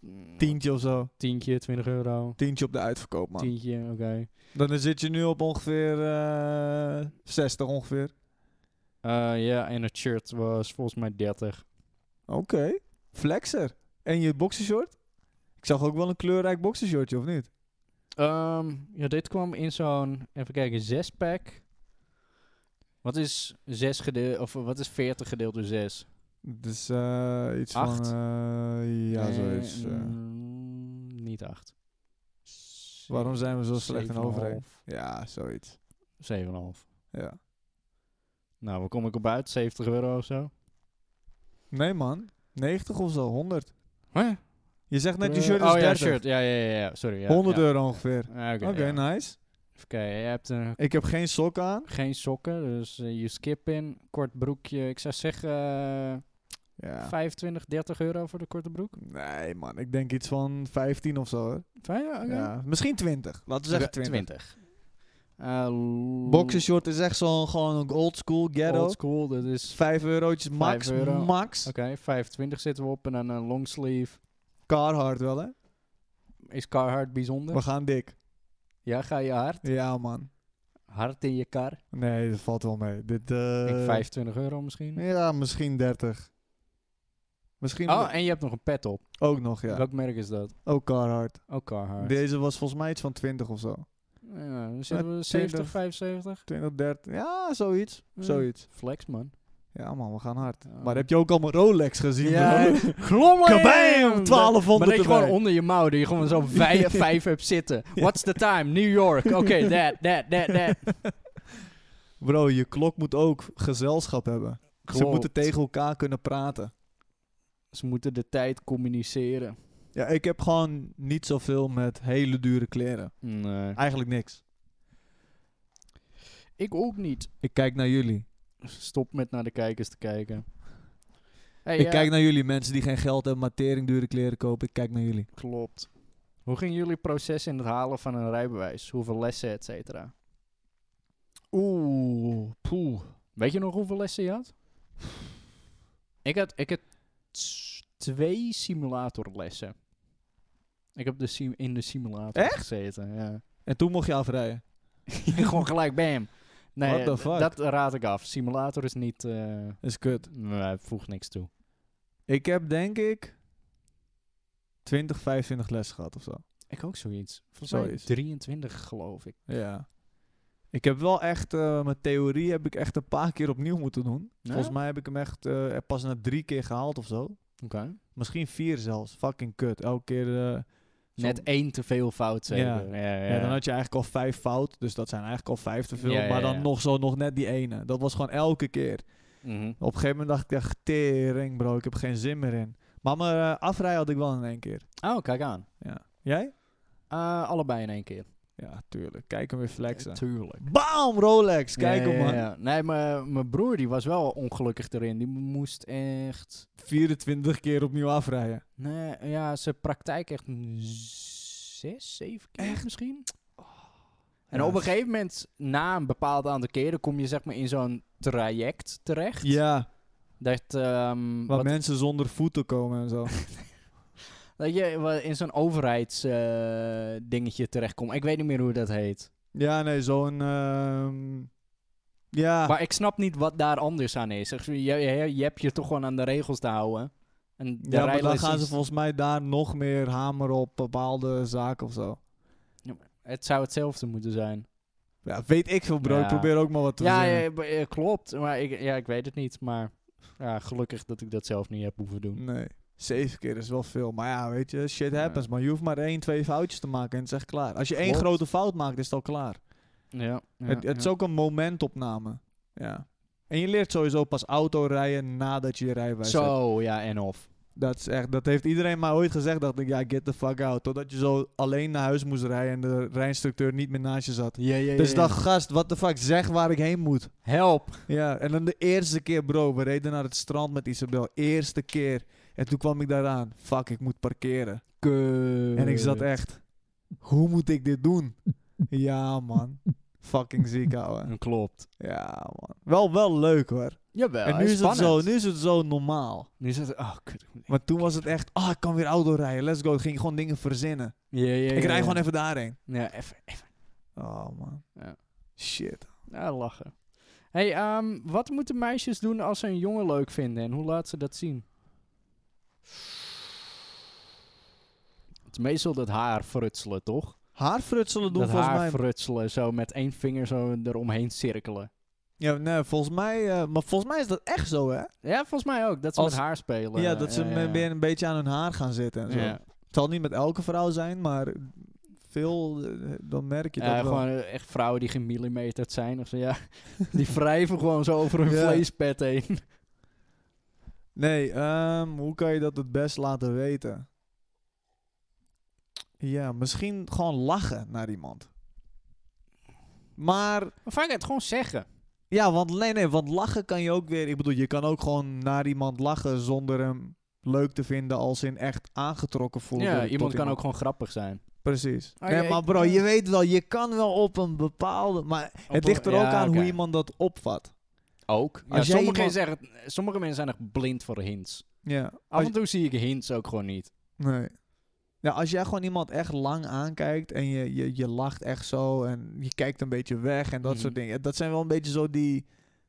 Speaker 1: Mm.
Speaker 2: Tientje of zo.
Speaker 1: Tientje, 20 euro.
Speaker 2: Tientje op de uitverkoop, man.
Speaker 1: Tientje, oké.
Speaker 2: Dan zit je nu op ongeveer eh 60 ongeveer.
Speaker 1: Eh, ja, en het shirt was volgens mij 30.
Speaker 2: Oké. Flexer. En je boxershort? Ik zag ook wel een kleurrijk boxershortje, of niet?
Speaker 1: Ehm, ja, dit kwam in zo'n, even kijken, 6 pack. Wat is 6 gedeeld, of eh, wat is 40 gedeeld door 6?
Speaker 2: Dus eh iets
Speaker 1: Acht?
Speaker 2: eh, van... eh ja, zoiets. eh.
Speaker 1: Mm, niet 8.
Speaker 2: Waarom zijn we zo slecht in overheid?
Speaker 1: 7,5.
Speaker 2: Ja, zoiets.
Speaker 1: 7,5.
Speaker 2: Ja.
Speaker 1: Nou, waar kom ik op uit? 70 euro of zo?
Speaker 2: Nee man, 90 of zo, 100.
Speaker 1: Huh?
Speaker 2: Je zegt net, je
Speaker 1: Eh,
Speaker 2: shirt is
Speaker 1: oh,
Speaker 2: 30.
Speaker 1: ja, shirt. Ja, ja, ja, ja. Sorry. Ja,
Speaker 2: 100
Speaker 1: ja.
Speaker 2: euro ongeveer. Oké, nou.
Speaker 1: Ja, Oké, ja.
Speaker 2: nice.
Speaker 1: Even kijken. Je hebt eh,
Speaker 2: Ik heb geen sok aan.
Speaker 1: geen sokken, dus eh, je skip in. Kort broekje. Ik zou zeggen eh,
Speaker 2: Ja.
Speaker 1: 25, 30 euro voor de korte broek.
Speaker 2: Nee man, ik denk iets van 15 of zo. hoor.
Speaker 1: Fijn, ja, oké.
Speaker 2: Ja. Misschien 20. Laten we zeggen
Speaker 1: Oké,
Speaker 2: 20.
Speaker 1: 20. Eh, l-
Speaker 2: Boxershort is echt zo'n gewoon een old school ghetto.
Speaker 1: Old school, dat is...
Speaker 2: 5 eurotjes max,
Speaker 1: Vijf euro.
Speaker 2: max.
Speaker 1: Oké, 25 zitten we op en dan eh, een longsleeve.
Speaker 2: Carhartt wel, hè?
Speaker 1: Is Carhartt bijzonder?
Speaker 2: We gaan dik.
Speaker 1: Ja, ga je hard?
Speaker 2: Ja, man.
Speaker 1: Hard in je kar?
Speaker 2: Nee, dat valt wel mee. Dit, eh,
Speaker 1: Ik 25 euro misschien?
Speaker 2: Ja, misschien 30. Misschien
Speaker 1: Oh, en je hebt nog een pet op.
Speaker 2: ook nog, ja.
Speaker 1: Welk merk is dat?
Speaker 2: Ook Carhartt.
Speaker 1: Ook Carhartt.
Speaker 2: Deze was volgens mij iets van 20 of zo.
Speaker 1: Ja, dan zitten we
Speaker 2: 20.
Speaker 1: 70, 75.
Speaker 2: 20, 30. Ja, zoiets.
Speaker 1: Ja.
Speaker 2: Zoiets.
Speaker 1: Flex, man.
Speaker 2: Ja, man, we gaan hard.
Speaker 1: Ja.
Speaker 2: Maar heb je ook allemaal Rolex gezien?
Speaker 1: Ja,
Speaker 2: bro?
Speaker 1: Glomland!
Speaker 2: Kabam! 1200
Speaker 1: Maar dat je gewoon
Speaker 2: erbij.
Speaker 1: onder je mouw, die je gewoon zo'n vijf, vijf hebt zitten. What's the time? New York. Oké, that, that, that, that.
Speaker 2: Bro, je klok moet ook gezelschap hebben. Ze
Speaker 1: Klopt.
Speaker 2: moeten tegen elkaar kunnen praten.
Speaker 1: Ze moeten de tijd communiceren.
Speaker 2: Ja, ik heb gewoon niet zoveel met hele dure kleren.
Speaker 1: Nee.
Speaker 2: Eigenlijk niks.
Speaker 1: Ik ook niet.
Speaker 2: Ik kijk naar jullie.
Speaker 1: Stop met naar de kijkers te kijken. Hey, eh,
Speaker 2: Ik
Speaker 1: ja,
Speaker 2: kijk naar jullie, mensen die geen geld hebben, maar teringdure kleren kopen. Ik kijk naar jullie.
Speaker 1: Klopt. Hoe ging jullie proces in het halen van een rijbewijs? Hoeveel lessen, et cetera?
Speaker 2: Oeh, poeh.
Speaker 1: Weet je nog hoeveel lessen je had? Ik had, ik had s- twee simulatorlessen. Ik heb de sim in de simulator gezeten. Ja.
Speaker 2: En toen mocht je afrijden.
Speaker 1: Gewoon gelijk bam. Nee,
Speaker 2: What the
Speaker 1: d-
Speaker 2: fuck?
Speaker 1: dat raad ik af. Simulator is niet... eh
Speaker 2: Is kut.
Speaker 1: nee, voegt niks toe.
Speaker 2: Ik heb denk ik 20, 25 les gehad of zo.
Speaker 1: Ik ook zoiets. Volgens mij
Speaker 2: Zoiets.
Speaker 1: 23 geloof ik.
Speaker 2: Ja. Ik heb wel echt, eh, mijn theorie heb ik echt een paar keer opnieuw moeten doen.
Speaker 1: Ja?
Speaker 2: Volgens mij heb ik hem echt eh, pas na drie keer gehaald of zo.
Speaker 1: Oké.
Speaker 2: Misschien vier zelfs. Fucking kut. Elke keer. eh, zo'n-
Speaker 1: Net één te veel fout zeker.
Speaker 2: Ja.
Speaker 1: Ja, ja,
Speaker 2: Ja, dan had je eigenlijk al vijf fout. Dus dat zijn eigenlijk al vijf te veel.
Speaker 1: Ja, ja,
Speaker 2: Maar
Speaker 1: ja.
Speaker 2: dan nog zo, nog net die ene. Dat was gewoon elke keer.
Speaker 1: Mhm.
Speaker 2: Op een gegeven moment dacht ik, echt, tering bro, ik heb geen zin meer in. Maar mijn eh, afrijden had ik wel in één keer.
Speaker 1: Oh, kijk aan.
Speaker 2: Ja. Jij?
Speaker 1: Eh, allebei in één keer.
Speaker 2: Ja, tuurlijk. Kijk hem weer flexen.
Speaker 1: Tuurlijk.
Speaker 2: Bam, Rolex. Kijk
Speaker 1: Ja,
Speaker 2: hem
Speaker 1: ja,
Speaker 2: man.
Speaker 1: ja. Nee, maar mijn broer die was wel ongelukkig erin. Die moest echt...
Speaker 2: 24 keer opnieuw afrijden.
Speaker 1: Nee, ja, zijn praktijk echt een zes, zeven keer misschien. En
Speaker 2: Ja,
Speaker 1: op een
Speaker 2: dat is-
Speaker 1: gegeven moment, na een bepaald aantal keren, kom je zeg maar in zo'n traject terecht.
Speaker 2: Ja,
Speaker 1: Dat, ehm,
Speaker 2: waar
Speaker 1: wat-
Speaker 2: mensen zonder voeten komen en zo.
Speaker 1: dat je wa- in zo'n overheidsdingetje dingetje terechtkomt. Ik weet niet meer hoe dat heet.
Speaker 2: ja, nee, zo'n... ehm, ja,
Speaker 1: Maar ik snap niet wat daar anders aan is. Ik zeg, Je, je, je hebt je toch gewoon aan de regels te houden. En de
Speaker 2: ja maar dan
Speaker 1: regels
Speaker 2: gaan ze
Speaker 1: is-
Speaker 2: volgens mij daar nog meer hamer op bepaalde zaken of zo.
Speaker 1: Het zou hetzelfde moeten zijn.
Speaker 2: Ja, weet ik veel bro,
Speaker 1: Ja.
Speaker 2: ik probeer ook maar wat te
Speaker 1: Ja,
Speaker 2: verzinnen.
Speaker 1: ja, b- eh, klopt. Maar ik, ja, ik weet het niet. Maar ja, gelukkig dat ik dat zelf niet heb hoeven doen.
Speaker 2: Nee. Zeven keer is wel veel. Maar ja, weet je, shit happens. Maar je hoeft maar één, twee foutjes te maken en het is echt klaar. Als je één
Speaker 1: Klopt.
Speaker 2: grote fout maakt, is het al klaar.
Speaker 1: Ja, ja,
Speaker 2: het het is
Speaker 1: ja.
Speaker 2: ook een momentopname. Ja. En je leert sowieso pas auto rijden nadat je je rijbewijs hebt.
Speaker 1: Zo, ja, en of.
Speaker 2: Dat, is echt, dat heeft iedereen mij ooit gezegd. Dacht ik, ja, get the fuck out. Totdat je zo alleen naar huis moest rijden en de rijinstructeur niet meer naast je zat.
Speaker 1: Ja, ja, ja,
Speaker 2: Dus
Speaker 1: ja.
Speaker 2: dacht, gast, wat de fuck, zeg waar ik heen moet.
Speaker 1: Help.
Speaker 2: Ja, en dan de eerste keer, bro, we reden naar het strand met Isabel. Eerste keer. En toen kwam ik daaraan. Fuck, ik moet parkeren.
Speaker 1: Eh,
Speaker 2: En ik zat echt, hoe moet ik dit doen? ja, man. Fucking ziek, ouwe.
Speaker 1: En Klopt.
Speaker 2: Ja, man. Wel, wel leuk, hoor.
Speaker 1: Jawel,
Speaker 2: en nu is, het
Speaker 1: spannend.
Speaker 2: zo, nu is het zo normaal.
Speaker 1: Nu is het... Oh, kut. ik moet-
Speaker 2: Maar toen was het echt, ah, ik kan weer auto rijden. Let's go. Ik ging gewoon dingen verzinnen.
Speaker 1: Ja, ja, ja,
Speaker 2: Ik rij
Speaker 1: ja.
Speaker 2: gewoon even daarheen.
Speaker 1: Ja, even, even.
Speaker 2: Oh, man.
Speaker 1: Ja.
Speaker 2: Shit.
Speaker 1: Ja, lachen. hey, ehm, wat moeten meisjes doen als ze een jongen leuk vinden en hoe laat ze dat zien? Het is meestal dat haar frutselen, toch?
Speaker 2: Haarfrutselen doen
Speaker 1: dat
Speaker 2: volgens
Speaker 1: haar
Speaker 2: mij...
Speaker 1: frutselen, zo met één vinger zo eromheen cirkelen.
Speaker 2: Ja, nee, volgens mij... eh, maar volgens mij is dat echt zo, hè?
Speaker 1: Ja, volgens mij ook. Dat ze
Speaker 2: Als-
Speaker 1: met haar spelen.
Speaker 2: Ja, dat ze
Speaker 1: ja,
Speaker 2: me- weer een beetje aan hun haar gaan zitten en zo.
Speaker 1: Ja.
Speaker 2: Het zal niet met elke vrouw zijn, maar veel, eh, dan merk je dat
Speaker 1: Ja,
Speaker 2: wel.
Speaker 1: gewoon eh, echt vrouwen die gemillimeterd zijn of zo, ja. Die wrijven gewoon zo over hun
Speaker 2: Ja.
Speaker 1: vleespet heen.
Speaker 2: Nee, ehm, hoe kan je dat het best laten weten? Ja, misschien gewoon lachen naar iemand. Maar
Speaker 1: Maar vaak het gewoon zeggen.
Speaker 2: ja, want nee, nee, want lachen kan je ook weer. Ik bedoel, je kan ook gewoon naar iemand lachen zonder hem leuk te vinden, als in echt aangetrokken voelen.
Speaker 1: ja,
Speaker 2: door- tot
Speaker 1: iemand kan ook gewoon grappig zijn.
Speaker 2: Precies.
Speaker 1: Ah, ja,
Speaker 2: nee,
Speaker 1: ik-
Speaker 2: maar bro, je weet wel, je kan wel op een bepaalde. Maar het
Speaker 1: een-
Speaker 2: ligt er
Speaker 1: ja,
Speaker 2: ook aan
Speaker 1: oké.
Speaker 2: hoe iemand dat opvat.
Speaker 1: Ook. Ja,
Speaker 2: Als jij
Speaker 1: sommige,
Speaker 2: iemand-
Speaker 1: zeggen, sommige mensen zijn echt blind voor hints.
Speaker 2: Ja.
Speaker 1: Af
Speaker 2: Als-
Speaker 1: en toe zie ik hints ook gewoon niet.
Speaker 2: Nee. Ja, als jij gewoon iemand echt lang aankijkt en je, je, je lacht echt zo en je kijkt een beetje weg en dat
Speaker 1: Mhm.
Speaker 2: soort dingen. Dat zijn wel een beetje zo die,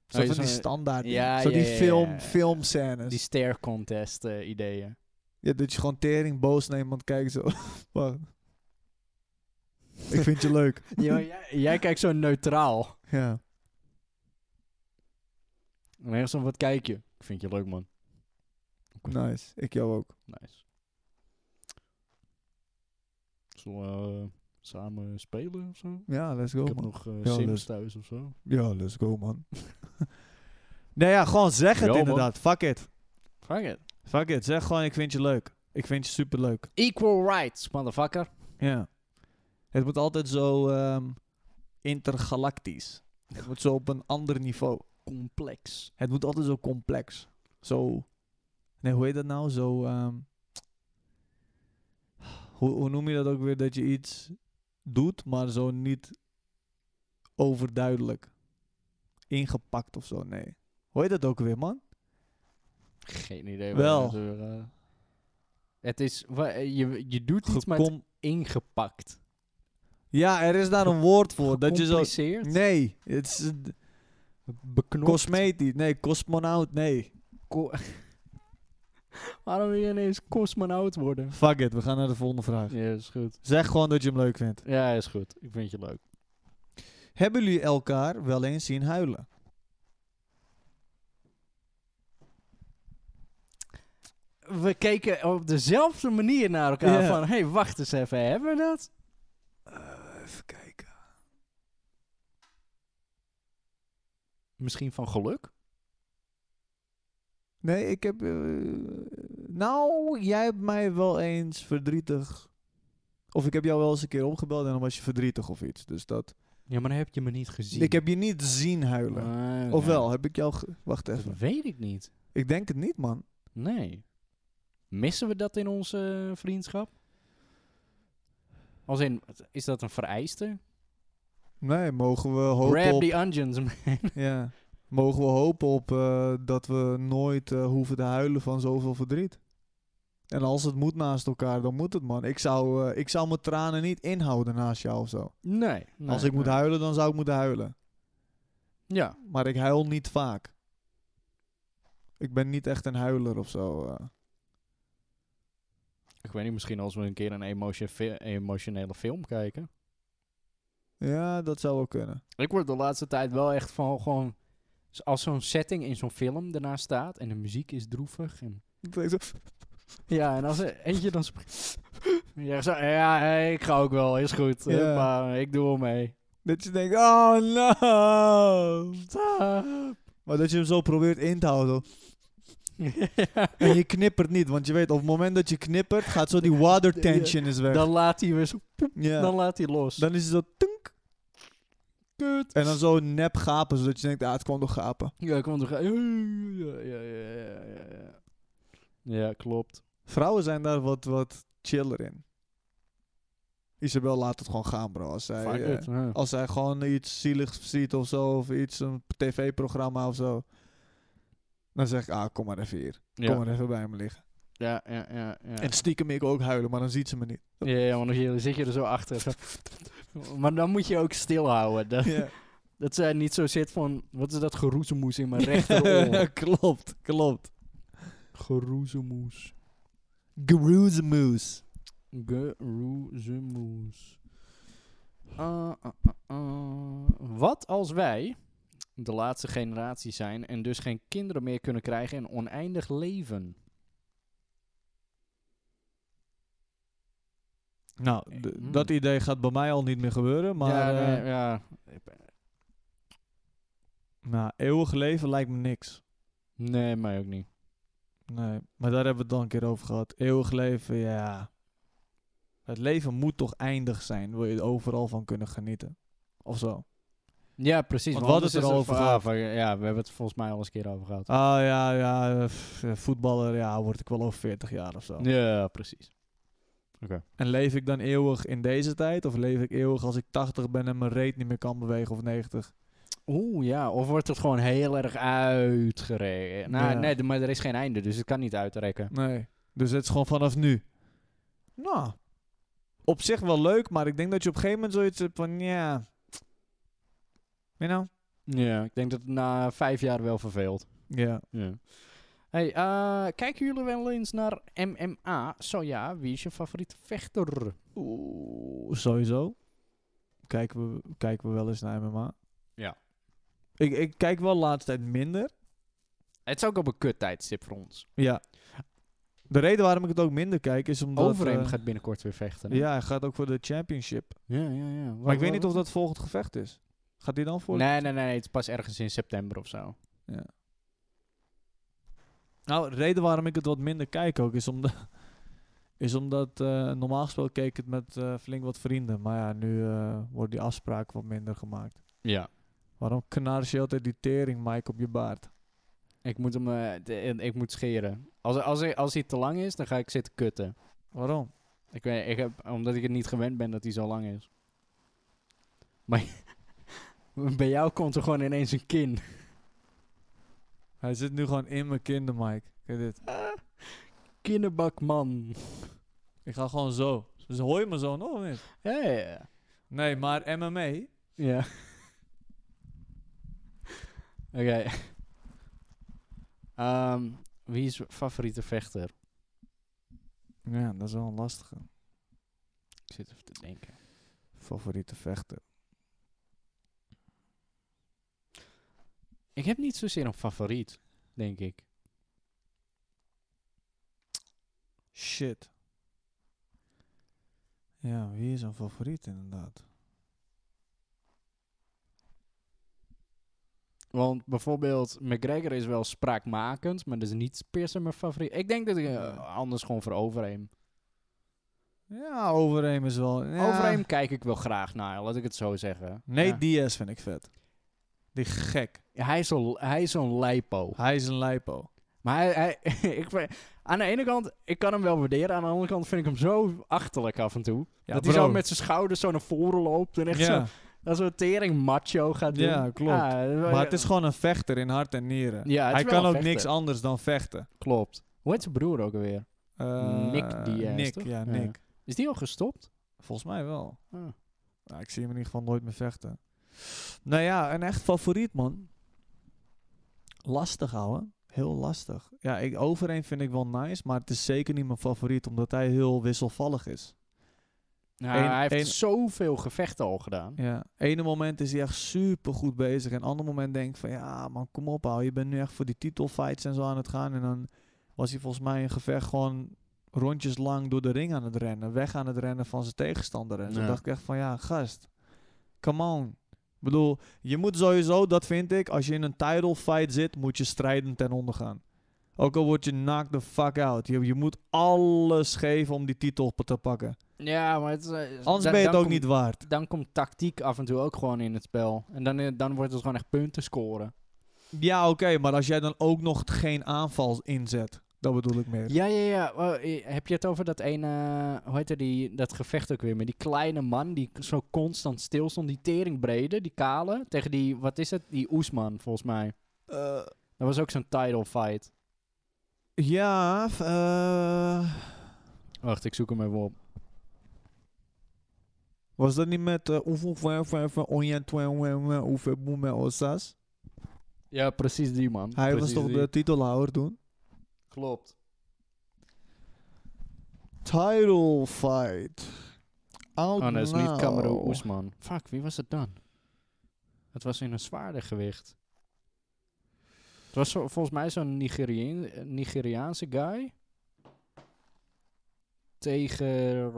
Speaker 2: zo
Speaker 1: Oh,
Speaker 2: van die
Speaker 1: zo'n-
Speaker 2: standaard dingen.
Speaker 1: Ja,
Speaker 2: Zo
Speaker 1: ja,
Speaker 2: die
Speaker 1: ja,
Speaker 2: film,
Speaker 1: ja, ja.
Speaker 2: filmscènes.
Speaker 1: Die stare contest eh, ideeën.
Speaker 2: Ja, dat je gewoon tering boos naar iemand kijkt zo. Wacht. Ik vind je leuk.
Speaker 1: Ja, jij, jij kijkt zo neutraal.
Speaker 2: Ja.
Speaker 1: En ergens van, wat kijk je? Ik vind je leuk, man.
Speaker 2: Nice. Ik jou ook.
Speaker 1: Nice. Zullen we eh, samen spelen of zo?
Speaker 2: Ja, let's go
Speaker 1: ik heb
Speaker 2: man.
Speaker 1: nog eh,
Speaker 2: Ja,
Speaker 1: Sims
Speaker 2: dus-
Speaker 1: thuis of zo.
Speaker 2: Ja, let's go man. nee ja, gewoon zeg het
Speaker 1: Ja, man.
Speaker 2: inderdaad. Fuck it.
Speaker 1: Fuck it.
Speaker 2: Fuck it. Zeg gewoon ik vind je leuk. Ik vind je superleuk.
Speaker 1: Equal rights, motherfucker.
Speaker 2: Ja. Het moet altijd zo ehm, intergalactisch. Het moet zo op een ander niveau.
Speaker 1: Complex.
Speaker 2: Het moet altijd zo complex. Zo. Nee, hoe heet dat nou? Zo. ehm, hoe, hoe noem je dat ook weer? Dat je iets doet, maar zo niet overduidelijk. Ingepakt of zo. Nee. Hoe heet dat ook weer, man?
Speaker 1: Geen idee.
Speaker 2: Wel.
Speaker 1: waar we het over, eh, het is, wa- eh, je, je doet iets, maar het
Speaker 2: Gecom-
Speaker 1: is ingepakt.
Speaker 2: ja, er is daar een woord voor. Dat je zo.
Speaker 1: Gecompliceerd?
Speaker 2: Nee, het is een
Speaker 1: Beknopt?
Speaker 2: cosmetisch. Nee, cosmonaut. Nee.
Speaker 1: Ko- Waarom wil je ineens cosmonaut worden?
Speaker 2: Fuck it, we gaan naar de volgende vraag.
Speaker 1: Ja, is goed.
Speaker 2: Zeg gewoon dat je hem leuk vindt.
Speaker 1: Ja, is goed. Ik vind je leuk.
Speaker 2: Hebben jullie elkaar wel eens zien huilen?
Speaker 1: We keken op dezelfde manier naar elkaar.
Speaker 2: Ja.
Speaker 1: Van, hé, hey, wacht eens even. Hebben we dat?
Speaker 2: Eh, even kijken.
Speaker 1: Misschien van geluk?
Speaker 2: Nee, ik heb. eh, nou, jij hebt mij wel eens verdrietig. Of ik heb jou wel eens een keer opgebeld en dan was je verdrietig of iets. Dus dat.
Speaker 1: Ja, maar dan heb je me niet gezien.
Speaker 2: Ik heb je niet zien huilen.
Speaker 1: Ah,
Speaker 2: Ofwel,
Speaker 1: nou,
Speaker 2: heb ik jou. ge- Wacht
Speaker 1: Dat
Speaker 2: even.
Speaker 1: weet ik niet.
Speaker 2: Ik denk het niet, man.
Speaker 1: Nee. Missen we dat in onze eh, vriendschap? Als in, is dat een vereiste?
Speaker 2: Nee, mogen we hopen.
Speaker 1: Grab
Speaker 2: Op,
Speaker 1: the onions, man.
Speaker 2: ja, mogen we hopen op eh, dat we nooit eh, hoeven te huilen van zoveel verdriet. En als het moet naast elkaar, dan moet het, man. Ik zou, eh, ik zou mijn tranen niet inhouden naast jou of zo.
Speaker 1: Nee.
Speaker 2: als ik moet
Speaker 1: nee.
Speaker 2: huilen, dan zou ik moeten huilen.
Speaker 1: Ja.
Speaker 2: Maar ik huil niet vaak. Ik ben niet echt een huiler of zo. eh.
Speaker 1: Ik weet niet, misschien als we een keer een emotio- fi- emotionele film kijken.
Speaker 2: Ja, dat zou wel kunnen.
Speaker 1: Ik word de laatste tijd wel echt van gewoon... s- Als zo'n setting in zo'n film daarna staat en de muziek is droevig. En,
Speaker 2: Ik denk zo-
Speaker 1: ja, en als er eentje dan springt... Ja, zo, ja hey, ik ga ook wel, is goed. eh,
Speaker 2: Ja.
Speaker 1: Maar ik doe wel mee.
Speaker 2: Dat je denkt, oh no.
Speaker 1: Stop.
Speaker 2: Maar dat je hem zo probeert in te houden. En je knippert niet, want je weet, op het moment dat je knippert, gaat zo die water tension is weg.
Speaker 1: dan laat hij weer zo,
Speaker 2: ja.
Speaker 1: dan laat hij los.
Speaker 2: Dan is het zo tunk.
Speaker 1: Kut.
Speaker 2: En dan zo nep gapen, zodat je denkt, ah, het kwam door gapen.
Speaker 1: Ja, ik kwam toch... Ja, ja, ja, ja, ja, ja. Ja, klopt.
Speaker 2: Vrouwen zijn daar wat, wat chiller in. Isabel laat het gewoon gaan, bro. Als zij,
Speaker 1: Fuck
Speaker 2: eh,
Speaker 1: it, ja. Oh,
Speaker 2: als zij gewoon iets zieligs ziet of zo, of iets, een tv-programma of zo. Dan zeg ik, ah, kom maar even hier.
Speaker 1: Ja.
Speaker 2: Kom maar even bij me liggen.
Speaker 1: Ja, ja, ja. ja.
Speaker 2: En stiekem ik ook huilen, maar dan ziet ze me niet.
Speaker 1: Ja, ja, want dan zit je er zo achter. zo. Maar dan moet je ook stilhouden. Dat,
Speaker 2: Ja.
Speaker 1: dat zij niet zo zit van... Wat is dat geroezemoes in mijn rechteroor?
Speaker 2: klopt, klopt.
Speaker 1: geroezemoes.
Speaker 2: Groezemoes.
Speaker 1: Geroezemoes. Ah, ah, ah, ah. Wat als wij de laatste generatie zijn... en dus geen kinderen meer kunnen krijgen en oneindig leven?
Speaker 2: Nou,
Speaker 1: Eh,
Speaker 2: d-
Speaker 1: hmm.
Speaker 2: dat idee gaat bij mij al niet meer gebeuren. Maar
Speaker 1: ja,
Speaker 2: eh,
Speaker 1: nee, ja.
Speaker 2: nou, eeuwig leven lijkt me niks.
Speaker 1: nee, mij ook niet.
Speaker 2: Nee, maar daar hebben we het dan een keer over gehad. Eeuwig leven, ja. Het leven moet toch eindig zijn? Wil je er overal van kunnen genieten? Of zo?
Speaker 1: Ja, precies.
Speaker 2: Want
Speaker 1: Wat
Speaker 2: we hadden het er al over gehad.
Speaker 1: Ja, we hebben het volgens mij al eens een keer over gehad.
Speaker 2: Ah ja, ja, eh, pff, eh, voetballer, ja, word ik wel over 40 jaar of zo.
Speaker 1: Ja, precies.
Speaker 2: En leef ik dan eeuwig in deze tijd? Of leef ik eeuwig als ik 80 ben en mijn reet niet meer kan bewegen of 90?
Speaker 1: Oeh, ja. Of wordt het gewoon heel erg uitgereken? Nou,
Speaker 2: Ja.
Speaker 1: nee, d- maar er is geen einde, dus het kan niet uitrekken.
Speaker 2: Nee. Dus het is gewoon vanaf nu. Nou, op zich wel leuk, maar ik denk dat je op een gegeven moment zoiets hebt van, ja. Weet je nou?
Speaker 1: Ja, ik denk dat het na vijf jaar wel verveelt.
Speaker 2: Ja.
Speaker 1: Ja. Hey, eh, kijken jullie wel eens naar MMA? Zo ja, wie is je favoriete vechter?
Speaker 2: Oeh, sowieso. Kijken we, kijken we wel eens naar MMA.
Speaker 1: Ja.
Speaker 2: Ik, ik kijk wel de laatste tijd minder.
Speaker 1: Het is ook op een kut tijdstip voor ons.
Speaker 2: Ja. De reden waarom ik het ook minder kijk is omdat...
Speaker 1: Overeem
Speaker 2: eh,
Speaker 1: gaat binnenkort weer vechten. hè?
Speaker 2: Ja, hij gaat ook voor de championship.
Speaker 1: ja, ja. ja.
Speaker 2: Maar ik weet niet of dat volgend gevecht is. Gaat die dan voor?
Speaker 1: Nee, nee, nee, het is pas ergens in september of zo.
Speaker 2: Nou, de reden waarom ik het wat minder kijk ook is omdat... Is omdat eh, normaal gesproken keek ik het met eh, flink wat vrienden. Maar ja, nu eh wordt die afspraak wat minder gemaakt.
Speaker 1: Ja.
Speaker 2: Waarom knars je altijd die tering, Mike, op je baard?
Speaker 1: Ik moet hem eh, de- en ik moet scheren. Als, als, hij- als hij te lang is, dan ga ik zitten kutten.
Speaker 2: Waarom?
Speaker 1: Ik weet, ik heb, omdat ik het niet gewend ben dat hij zo lang is. Maar bij jou komt er gewoon ineens een kin.
Speaker 2: Hij zit nu gewoon in mijn kinder, Mike. Kijk dit.
Speaker 1: Kinderbakman.
Speaker 2: Ik ga gewoon zo. Dus hoor je me zo nog of niet?
Speaker 1: Ja, ja, ja.
Speaker 2: Nee, maar MMA...
Speaker 1: Ja. Oké. Ehm, wie is je favoriete vechter?
Speaker 2: Ja, dat is wel een lastige.
Speaker 1: Ik zit even te denken.
Speaker 2: Favoriete vechter.
Speaker 1: Ik heb niet zozeer een favoriet, denk ik.
Speaker 2: Shit. Ja, wie is een favoriet inderdaad?
Speaker 1: Want bijvoorbeeld McGregor is wel spraakmakend, maar dat is niet per se mijn favoriet. Ik denk dat ik eh,
Speaker 2: Ja.
Speaker 1: anders gewoon voor Overeem.
Speaker 2: Ja, Overeem is wel... Ja.
Speaker 1: Overeem kijk ik wel graag naar, laat ik het zo zeggen.
Speaker 2: Nee,
Speaker 1: Ja.
Speaker 2: Diaz vind ik vet. Die gek.
Speaker 1: Hij is zo'n hij is zo'n lijpo.
Speaker 2: Hij is een lijpo.
Speaker 1: Maar hij, hij- ik, vind- aan de ene kant, ik kan hem wel waarderen. Aan de andere kant vind ik hem zo achterlijk af en toe.
Speaker 2: Ja,
Speaker 1: dat hij
Speaker 2: bro.
Speaker 1: zo met zijn schouders zo naar voren loopt. En echt
Speaker 2: ja,
Speaker 1: zo, dat zo'n tering macho gaat doen.
Speaker 2: Ja, klopt.
Speaker 1: eh,
Speaker 2: maar het is gewoon een vechter in hart en nieren.
Speaker 1: Ja, het is
Speaker 2: Hij
Speaker 1: wel
Speaker 2: kan
Speaker 1: een
Speaker 2: ook
Speaker 1: vechter.
Speaker 2: niks anders dan vechten.
Speaker 1: Klopt. Hoe heet zijn broer ook alweer?
Speaker 2: Eh,
Speaker 1: Nick Diaz,
Speaker 2: Nick,
Speaker 1: toch?
Speaker 2: ja,
Speaker 1: Ja.
Speaker 2: Nick.
Speaker 1: Is die al gestopt?
Speaker 2: Volgens mij wel.
Speaker 1: Ah.
Speaker 2: Nou, ik zie hem in ieder geval nooit meer vechten. Nou ja, een echt favoriet, man. Lastig, ouwe. Heel lastig. Ja, ik, overeen vind ik wel nice, maar het is zeker niet mijn favoriet, omdat hij heel wisselvallig is.
Speaker 1: Nou,
Speaker 2: Eén-
Speaker 1: hij heeft
Speaker 2: één-
Speaker 1: zoveel gevechten al gedaan.
Speaker 2: Ja. Ene moment is hij echt super goed bezig, en ander moment denk ik van, ja man, kom op ouwe, je bent nu echt voor die titelfights en zo aan het gaan. En dan was hij volgens mij in gevecht gewoon rondjes lang door de ring aan het rennen, weg aan het rennen van zijn tegenstander. En toen
Speaker 1: Ja.
Speaker 2: dacht ik echt van, ja gast, come on. Ik bedoel, je moet sowieso, dat vind ik, als je in een title fight zit, moet je strijdend ten onder gaan. Ook al word je knocked the fuck out. Je, je moet alles geven om die titel te pakken.
Speaker 1: Ja, maar het, is, eh,
Speaker 2: Anders
Speaker 1: dan-
Speaker 2: ben
Speaker 1: dan
Speaker 2: je het ook
Speaker 1: komt-
Speaker 2: niet waard.
Speaker 1: Dan komt tactiek af en toe ook gewoon in het spel. En dan, eh, dan wordt het gewoon echt punten scoren.
Speaker 2: Ja, oké, maar als jij dan ook nog geen aanval inzet, dat bedoel ik meer.
Speaker 1: Ja, ja, ja. Oh, eh, heb je het over dat ene... eh, Hoe heette die, dat gevecht ook weer met die kleine man die k- zo constant stil stond. Die teringbrede, die kale. Tegen die, wat is het? Die Oesman, volgens mij.
Speaker 2: Eh,
Speaker 1: Dat was ook zo'n title fight.
Speaker 2: ja, f- eh,
Speaker 1: Wacht, ik zoek hem even op.
Speaker 2: was dat niet met eh, Oef, oef, oef, oef, onjen, twen, wen, wen, oef, eh, boem, eh, osas?
Speaker 1: Ja, precies die man.
Speaker 2: Hij was toch de titelhouder toen?
Speaker 1: Klopt.
Speaker 2: Title fight. Out
Speaker 1: Oh, nee, dat is niet
Speaker 2: now.
Speaker 1: Kamaru Oesman. Fuck, wie was het dan? Het was in een zwaarder gewicht. Het was zo- volgens mij zo'n Nigeriaan- Nigeriaanse guy. tegen,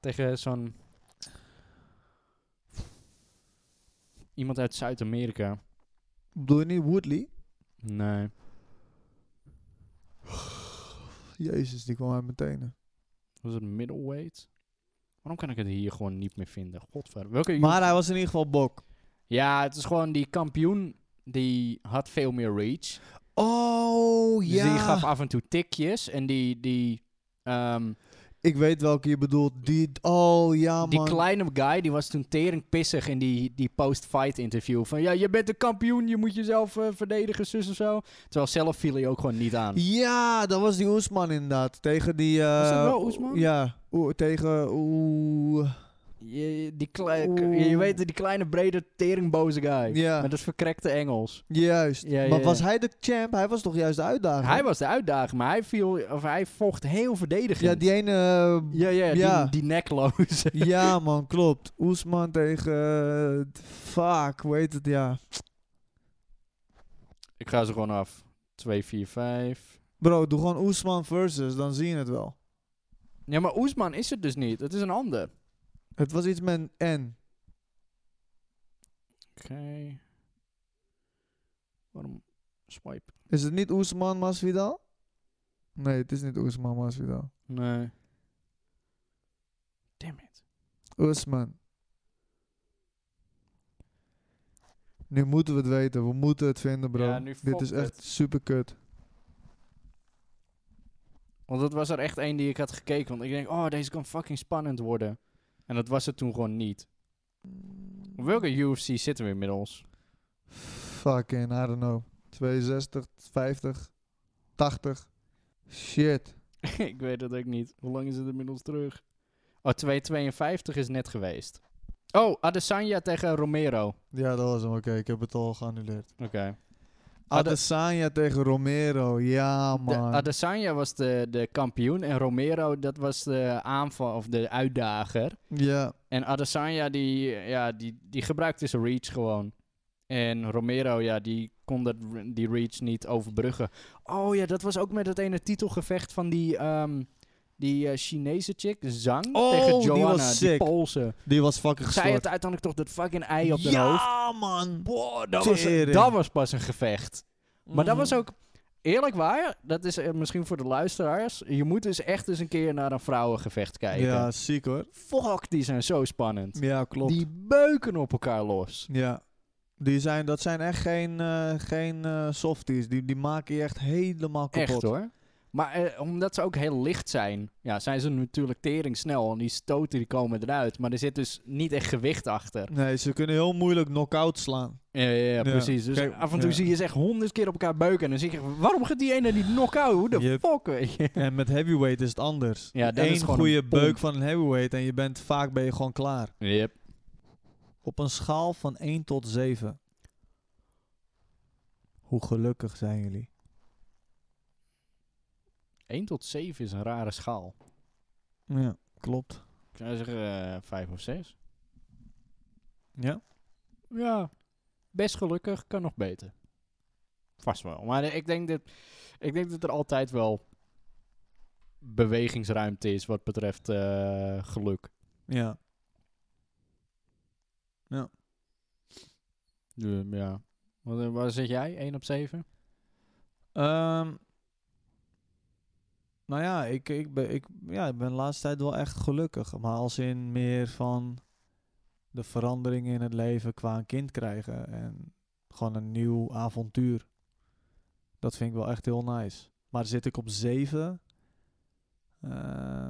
Speaker 1: tegen zo'n... Iemand uit Zuid-Amerika.
Speaker 2: Bedoel je niet Woodley?
Speaker 1: Nee.
Speaker 2: Jezus, die kwam uit mijn tenen.
Speaker 1: Was het middleweight? Waarom kan ik het hier gewoon niet meer vinden? Godver. Welke
Speaker 2: Maar hij was in ieder geval bok.
Speaker 1: Ja, het is gewoon die kampioen. Die had veel meer reach.
Speaker 2: Oh,
Speaker 1: Dus die gaf af en toe tikjes. En die, die, ehm,
Speaker 2: Ik weet welke je bedoelt. Die, oh ja,
Speaker 1: die
Speaker 2: man.
Speaker 1: kleine guy die was toen tering pissig in die, die post-fight interview. Van ja, je bent de kampioen, je moet jezelf eh, verdedigen, zus en zo. Terwijl zelf viel hij ook gewoon niet aan.
Speaker 2: Ja, dat was die Oesman inderdaad. Tegen die... eh,
Speaker 1: dat wel Oesman?
Speaker 2: Ja, Oe- tegen... Oeh...
Speaker 1: Je, die klei-
Speaker 2: Oeh.
Speaker 1: je weet het, die kleine, brede, teringboze guy.
Speaker 2: Ja.
Speaker 1: Met dat verkrekte Engels.
Speaker 2: Juist.
Speaker 1: Ja, ja,
Speaker 2: maar was
Speaker 1: ja.
Speaker 2: hij de champ? Hij was toch juist de uitdager?
Speaker 1: Hij was de uitdaging, maar hij, viel, of hij vocht heel verdedigend.
Speaker 2: Ja, die ene... eh,
Speaker 1: ja, ja,
Speaker 2: ja.
Speaker 1: die, die nekloze.
Speaker 2: ja, man, klopt. Oesman tegen... eh, fuck, hoe heet het? Ja.
Speaker 1: Ik ga ze gewoon af. 2, 4, 5.
Speaker 2: Bro, doe gewoon Oesman versus, dan zie je het wel.
Speaker 1: Ja, maar Oesman is het dus niet. Het is een ander.
Speaker 2: Het was iets met een N.
Speaker 1: Oké. Waarom swipe?
Speaker 2: Is het niet Oesman Masvidal? Nee, het is niet Oesman Masvidal.
Speaker 1: Nee. Damn it.
Speaker 2: Oesman. Nu moeten we het weten. We moeten het vinden, bro.
Speaker 1: Ja, nu
Speaker 2: Dit
Speaker 1: fokt
Speaker 2: is echt
Speaker 1: het.
Speaker 2: super kut.
Speaker 1: Want dat was er echt één die ik had gekeken. Want ik denk, oh, deze kan fucking spannend worden. En dat was het toen gewoon niet. Op welke UFC zitten we inmiddels?
Speaker 2: Fucking, I don't know. 62, 50, 80. Shit.
Speaker 1: ik weet het ook niet. Hoe lang is het inmiddels terug? Oh, 252 is net geweest. Oh, Adesanya tegen Romero. Oké.
Speaker 2: Ja, dat was hem. Oké, ik heb het al geannuleerd. Ah, Adesanya tegen Romero. Ja,
Speaker 1: De
Speaker 2: man.
Speaker 1: Adesanya was de, de kampioen en Romero dat was de aanval of de uitdager.
Speaker 2: ja.
Speaker 1: En Adesanya die, ja, die, die gebruikte zijn reach gewoon. En Romero, ja, die kon dat, die reach niet overbruggen. Oh ja, dat was ook met het ene titelgevecht van die, ehm, die eh, Chinese chick, Zhang,
Speaker 2: Oh,
Speaker 1: tegen
Speaker 2: die was
Speaker 1: Joanna,
Speaker 2: sick.
Speaker 1: Poolse.
Speaker 2: Die was fucking
Speaker 1: Zij
Speaker 2: gestoord.
Speaker 1: had uiteindelijk toch dat fucking ei op haar hoofd.
Speaker 2: Ja, man.
Speaker 1: Boah, dat was,
Speaker 2: Tering.
Speaker 1: dat was pas een gevecht. Maar dat was
Speaker 2: Mm.
Speaker 1: ook eerlijk waar. Dat is eh, misschien voor de luisteraars. Je moet dus echt eens een keer naar een vrouwengevecht kijken.
Speaker 2: Ja, ziek hoor.
Speaker 1: Fuck, die zijn zo spannend.
Speaker 2: Ja, klopt.
Speaker 1: Die beuken op elkaar los.
Speaker 2: Ja. Die zijn, dat zijn echt geen, eh, geen eh, softies. Die, die maken je echt helemaal kapot.
Speaker 1: Echt hoor. Maar eh, omdat ze ook heel licht zijn, ja, zijn ze natuurlijk tering snel. En die stoten die komen eruit. Maar er zit dus niet echt gewicht achter.
Speaker 2: Nee, ze kunnen heel moeilijk knock-out slaan.
Speaker 1: Ja, ja, ja, precies. Dus
Speaker 2: Kijk,
Speaker 1: af en toe
Speaker 2: ja.
Speaker 1: zie je ze echt honderd keer op elkaar beuken. En dan zie je, waarom gaat die ene die knock-out? Hoe de
Speaker 2: Yep.
Speaker 1: fuck, weet je?
Speaker 2: En met heavyweight is het anders.
Speaker 1: Ja, dat
Speaker 2: Eén
Speaker 1: is gewoon
Speaker 2: goede
Speaker 1: een pomp.
Speaker 2: beuk van een heavyweight en je bent, vaak ben je gewoon klaar.
Speaker 1: Yep.
Speaker 2: Op een schaal van 1 tot 7. Hoe gelukkig zijn jullie?
Speaker 1: 1 tot 7 is een rare schaal.
Speaker 2: Ja, klopt.
Speaker 1: Ik zou zeggen eh 5 of 6.
Speaker 2: Ja?
Speaker 1: Ja, best gelukkig, kan nog beter. Vast wel. Maar eh, ik denk dat, ik denk dat er altijd wel bewegingsruimte is wat betreft eh, geluk.
Speaker 2: Ja.
Speaker 1: Ja, Ja. Wat, eh, waar zit jij? 1 op 7?
Speaker 2: Ehm, nou ja ik, ik, ben, ik, ja, ik ben de laatste tijd wel echt gelukkig. Maar als in meer van de veranderingen in het leven qua een kind krijgen. En gewoon een nieuw avontuur. Dat vind ik wel echt heel nice. Maar zit ik op zeven? Eh,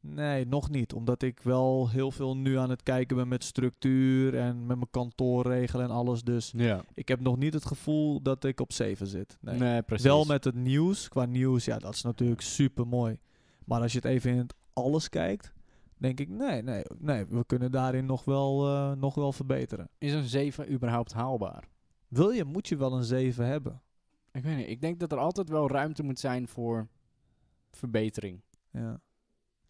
Speaker 2: nee, nog niet. Omdat ik wel heel veel nu aan het kijken ben met structuur en met mijn kantoorregelen en alles. Dus
Speaker 1: Ja.
Speaker 2: ik heb nog niet het gevoel dat ik op zeven zit.
Speaker 1: Nee,
Speaker 2: Nee.
Speaker 1: precies.
Speaker 2: Wel met het nieuws. Qua nieuws, ja, dat is natuurlijk super mooi. Maar als je het even in het alles kijkt, denk ik, nee, nee, nee, we kunnen daarin nog wel, eh, nog wel verbeteren.
Speaker 1: Is een 7 überhaupt haalbaar?
Speaker 2: Wil je, moet je wel een 7 hebben.
Speaker 1: Ik weet niet. Ik denk dat er altijd wel ruimte moet zijn voor verbetering.
Speaker 2: Ja.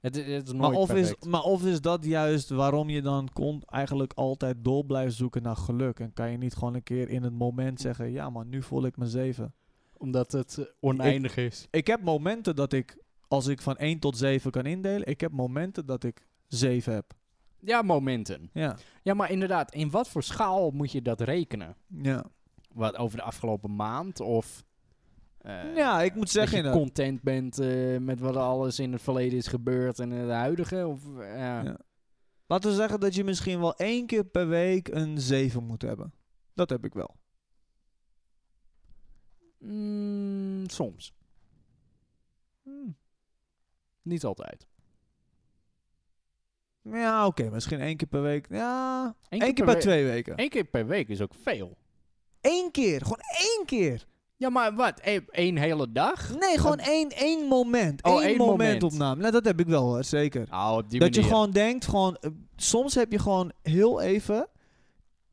Speaker 1: Het, is- het is nooit
Speaker 2: Maar, of is,
Speaker 1: perfect.
Speaker 2: maar of is dat juist waarom je dan kon, eigenlijk altijd door blijft zoeken naar geluk? En kan je niet gewoon een keer in het moment zeggen, ja, maar nu voel ik me 7.
Speaker 1: Omdat het eh, oneindig is.
Speaker 2: Ik heb momenten dat ik als ik van 1 tot 7 kan indelen, ik heb momenten dat ik 7 heb.
Speaker 1: Ja, momenten.
Speaker 2: Ja.
Speaker 1: Ja, maar inderdaad, in wat voor schaal moet je dat rekenen?
Speaker 2: Ja.
Speaker 1: Wat, over de afgelopen maand? Of eh,
Speaker 2: Ja, ik moet
Speaker 1: dat
Speaker 2: zeggen
Speaker 1: je
Speaker 2: inderdaad.
Speaker 1: content bent eh, met wat alles in het verleden is gebeurd en het huidige? Of, eh, ja.
Speaker 2: Ja. Laten we zeggen dat je misschien wel één keer per week een 7 moet hebben. Dat heb ik wel.
Speaker 1: Mm, soms.
Speaker 2: Hmm.
Speaker 1: Niet altijd.
Speaker 2: Ja, oké, misschien één keer per week. Ja, één keer, per,
Speaker 1: we-
Speaker 2: twee weken.
Speaker 1: Eén keer per week is ook veel.
Speaker 2: Eén keer, gewoon één keer.
Speaker 1: Ja, maar wat? Eén één hele dag?
Speaker 2: Nee, gewoon één, één moment.
Speaker 1: Oh,
Speaker 2: Eén
Speaker 1: één
Speaker 2: moment,
Speaker 1: moment.
Speaker 2: opname. Nou, dat heb ik wel hoor, zeker.
Speaker 1: Nou, op die
Speaker 2: dat je
Speaker 1: manier.
Speaker 2: gewoon denkt, gewoon, eh, soms heb je gewoon heel even,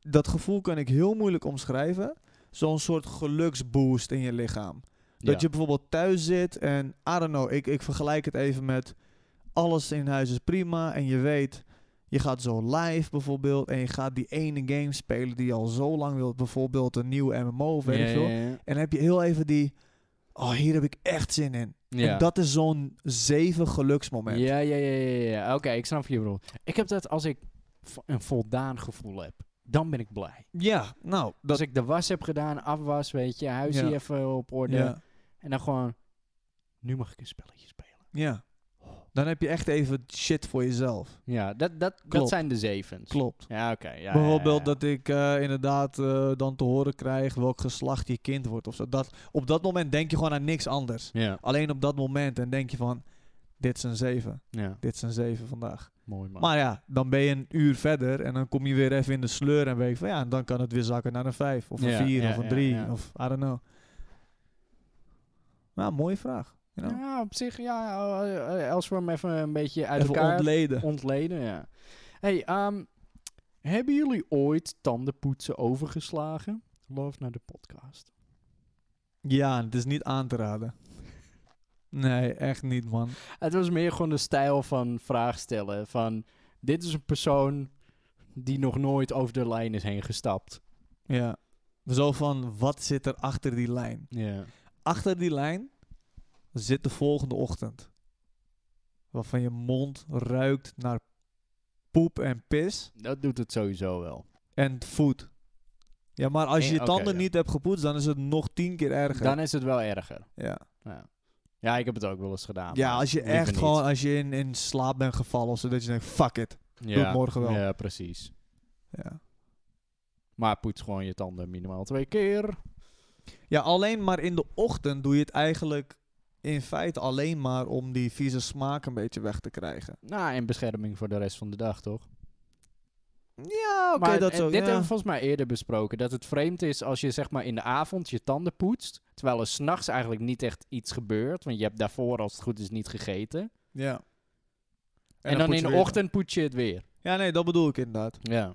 Speaker 2: dat gevoel kan ik heel moeilijk omschrijven, zo'n soort geluksboost in je lichaam. Dat
Speaker 1: Ja.
Speaker 2: je bijvoorbeeld thuis zit en, I don't know, ik, ik vergelijk het even met alles in huis is prima en je weet, je gaat zo live bijvoorbeeld en je gaat die ene game spelen die je al zo lang wilt, bijvoorbeeld een nieuwe MMO of weet
Speaker 1: Ja,
Speaker 2: ik veel.
Speaker 1: ja, ja.
Speaker 2: En dan heb je heel even die, oh hier heb ik echt zin in.
Speaker 1: Ja.
Speaker 2: En dat is zo'n zeven geluksmoment.
Speaker 1: Ja, ja, ja, ja. ja. Oké, ik snap je bedoel. Ik heb dat als ik v- een voldaan gevoel heb. Dan ben ik blij.
Speaker 2: Ja, nou,
Speaker 1: Als ik de was heb gedaan, afwas, weet je, huisje
Speaker 2: Ja.
Speaker 1: even op orde.
Speaker 2: Ja,
Speaker 1: En dan gewoon, nu mag ik een spelletje spelen.
Speaker 2: ja. Dan heb je echt even shit voor jezelf.
Speaker 1: Ja, dat, dat, dat
Speaker 2: Klopt.
Speaker 1: zijn de zevens.
Speaker 2: Klopt.
Speaker 1: Ja, oké. ja,
Speaker 2: Bijvoorbeeld
Speaker 1: ja, ja.
Speaker 2: dat ik eh, inderdaad eh, dan te horen krijg welk geslacht je kind wordt of zo. Dat, op dat moment denk je gewoon aan niks anders.
Speaker 1: Ja,
Speaker 2: Alleen op dat moment en denk je van, dit is een zeven.
Speaker 1: ja.
Speaker 2: Dit is een zeven vandaag.
Speaker 1: Mooi man.
Speaker 2: Maar ja, dan ben je een uur verder en dan kom je weer even in de sleur en weet je van ja, en dan kan het weer zakken naar een vijf of een
Speaker 1: Ja,
Speaker 2: vier
Speaker 1: ja,
Speaker 2: of een
Speaker 1: ja,
Speaker 2: drie
Speaker 1: ja.
Speaker 2: of I don't know. Nou, mooie vraag. You know?
Speaker 1: Ja, op zich, ja. eh, eh, Als we hem even een beetje uit
Speaker 2: Even
Speaker 1: elkaar
Speaker 2: ontleden.
Speaker 1: ontleden, ja. Hey, ehm, hebben jullie ooit tandenpoetsen overgeslagen? Love naar de podcast.
Speaker 2: Ja, het is niet aan te raden. Nee, echt niet, man.
Speaker 1: Het was meer gewoon de stijl van vraag stellen. Van, dit is een persoon die nog nooit over de lijn is heen gestapt.
Speaker 2: Ja. Zo van, wat zit er achter die lijn?
Speaker 1: Ja.
Speaker 2: Achter die lijn zit de volgende ochtend. Waarvan je mond ruikt naar poep en pis
Speaker 1: Dat doet het sowieso wel.
Speaker 2: en voet. Ja, maar als je
Speaker 1: Eh,
Speaker 2: je
Speaker 1: oké,
Speaker 2: tanden
Speaker 1: ja.
Speaker 2: niet hebt gepoetst, dan is het nog tien keer erger.
Speaker 1: Dan is het wel erger.
Speaker 2: ja.
Speaker 1: Ja, ja ik heb het ook wel eens gedaan.
Speaker 2: ja,
Speaker 1: maar
Speaker 2: als je
Speaker 1: liever
Speaker 2: echt
Speaker 1: niet.
Speaker 2: gewoon, als je in, in slaap bent gevallen of zo, dat je denkt, fuck it.
Speaker 1: ja.
Speaker 2: het morgen wel.
Speaker 1: Ja, precies.
Speaker 2: Ja.
Speaker 1: Maar poets gewoon je tanden minimaal twee keer.
Speaker 2: ja, alleen maar in de ochtend doe je het eigenlijk in feite alleen maar om die vieze smaak een beetje weg te krijgen.
Speaker 1: Nou, en bescherming voor de rest van de dag, toch?
Speaker 2: Ja, oké,
Speaker 1: maar
Speaker 2: dat
Speaker 1: eh,
Speaker 2: zo.
Speaker 1: dit
Speaker 2: ja.
Speaker 1: hebben we volgens mij eerder besproken. Dat het vreemd is als je zeg maar in de avond je tanden poetst. Terwijl er s'nachts eigenlijk niet echt iets gebeurt. Want je hebt daarvoor als het goed is niet gegeten. En,
Speaker 2: Ja. En,
Speaker 1: dan,
Speaker 2: poets
Speaker 1: in
Speaker 2: je
Speaker 1: de
Speaker 2: weer.
Speaker 1: ochtend poets je het weer.
Speaker 2: Ja, nee, dat bedoel ik inderdaad.
Speaker 1: Ja.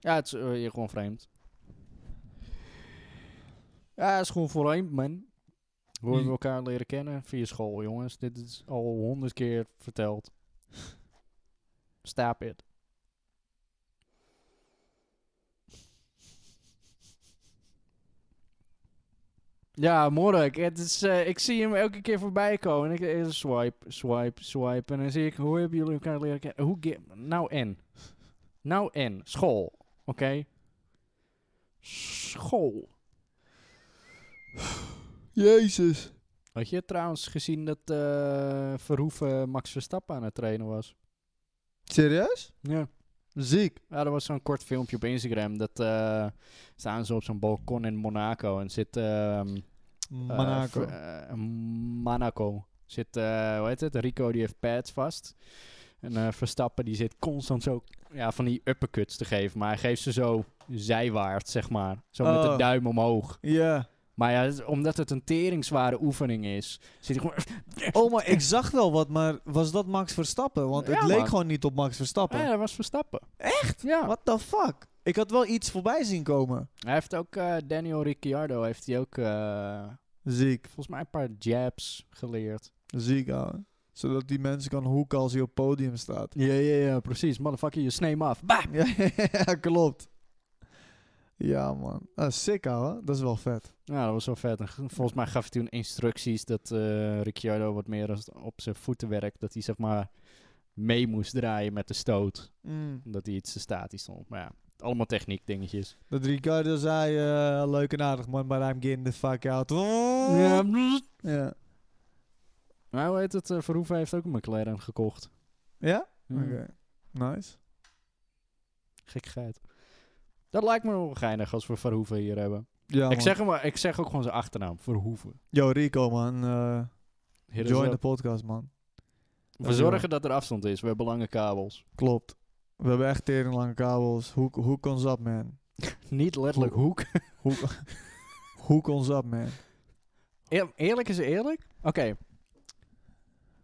Speaker 1: Ja, het is eh, hier gewoon vreemd. Ja, het is gewoon vreemd, man. Hoe hebben we elkaar leren kennen? Via school, jongens. Dit is al honderd keer verteld. Stop it. Ja, Mork. Het is, eh, ik zie hem elke keer voorbij komen. En ik eh, swipe, swipe, swipe. En dan zie ik, hoe hebben jullie elkaar leren kennen? Hoe ge- nou en? Nou en? School. Oké? School.
Speaker 2: Jezus.
Speaker 1: Had je trouwens gezien dat eh, Verhoeven Max Verstappen aan het trainen was?
Speaker 2: Serieus?
Speaker 1: Ja.
Speaker 2: Ziek.
Speaker 1: Ja, er was zo'n kort filmpje op Instagram. Dat eh, staan ze op zo'n balkon in Monaco en zit... ehm,
Speaker 2: Mm.
Speaker 1: eh,
Speaker 2: Monaco.
Speaker 1: v- eh, Monaco. Zit, eh, hoe heet het? Rico die heeft pads vast. En eh, Verstappen die zit constant zo ja, van die uppercuts te geven. Maar hij geeft ze zo zijwaarts, zeg maar. Zo met de
Speaker 2: Oh.
Speaker 1: duim omhoog.
Speaker 2: ja.
Speaker 1: Maar ja, het- omdat het een teringzware oefening is, zit hij gewoon...
Speaker 2: Oh, maar ik zag wel wat, maar was dat Max Verstappen? Want het
Speaker 1: Ja,
Speaker 2: leek
Speaker 1: man.
Speaker 2: gewoon niet op Max Verstappen.
Speaker 1: Ja, dat was Verstappen. Echt? Ja.
Speaker 2: What the fuck? Ik had wel iets voorbij zien komen.
Speaker 1: Hij heeft ook, eh, Daniel Ricciardo heeft hij ook, eh,
Speaker 2: Ziek.
Speaker 1: volgens mij een paar jabs geleerd.
Speaker 2: Ziek, ouwe. Zodat die mensen kan hoeken als hij op podium staat.
Speaker 1: Ja, ja, ja, precies. Motherfucker, je snee hem af. Bah!
Speaker 2: ja, klopt. Ja, man. Ah, sick, ouwe. Dat is wel vet.
Speaker 1: Ja, dat was wel vet. En ge- volgens mij gaf hij toen instructies dat eh Ricciardo wat meer als- op zijn voeten werkt. Dat hij zeg maar mee moest draaien met de stoot.
Speaker 2: Mm.
Speaker 1: Omdat hij iets te statisch stond. Maar ja, allemaal techniek dingetjes.
Speaker 2: Dat Ricardo zei, eh, leuk en aardig man, but I'm getting the fuck out.
Speaker 1: Ja.
Speaker 2: Ja. Ja?
Speaker 1: Maar hoe heet het? eh, Verhoeven heeft ook een McLaren gekocht.
Speaker 2: Oké. Nice.
Speaker 1: Gekheid. Dat lijkt me wel geinig als we Verhoeven hier hebben.
Speaker 2: Ja,
Speaker 1: ik, zeg hem, maar- ik zeg ook gewoon zijn achternaam. Verhoeven.
Speaker 2: Yo, Rico, man. eh,
Speaker 1: Hier is
Speaker 2: join
Speaker 1: wel-
Speaker 2: de podcast, man.
Speaker 1: We zorgen dat er afstand is. We hebben lange kabels.
Speaker 2: Klopt. We hebben echt tering lange kabels. Hoe hoe ons up, man?
Speaker 1: Niet letterlijk hoek.
Speaker 2: Hoe ons up, man?
Speaker 1: Eer- eerlijk is eerlijk. Oké.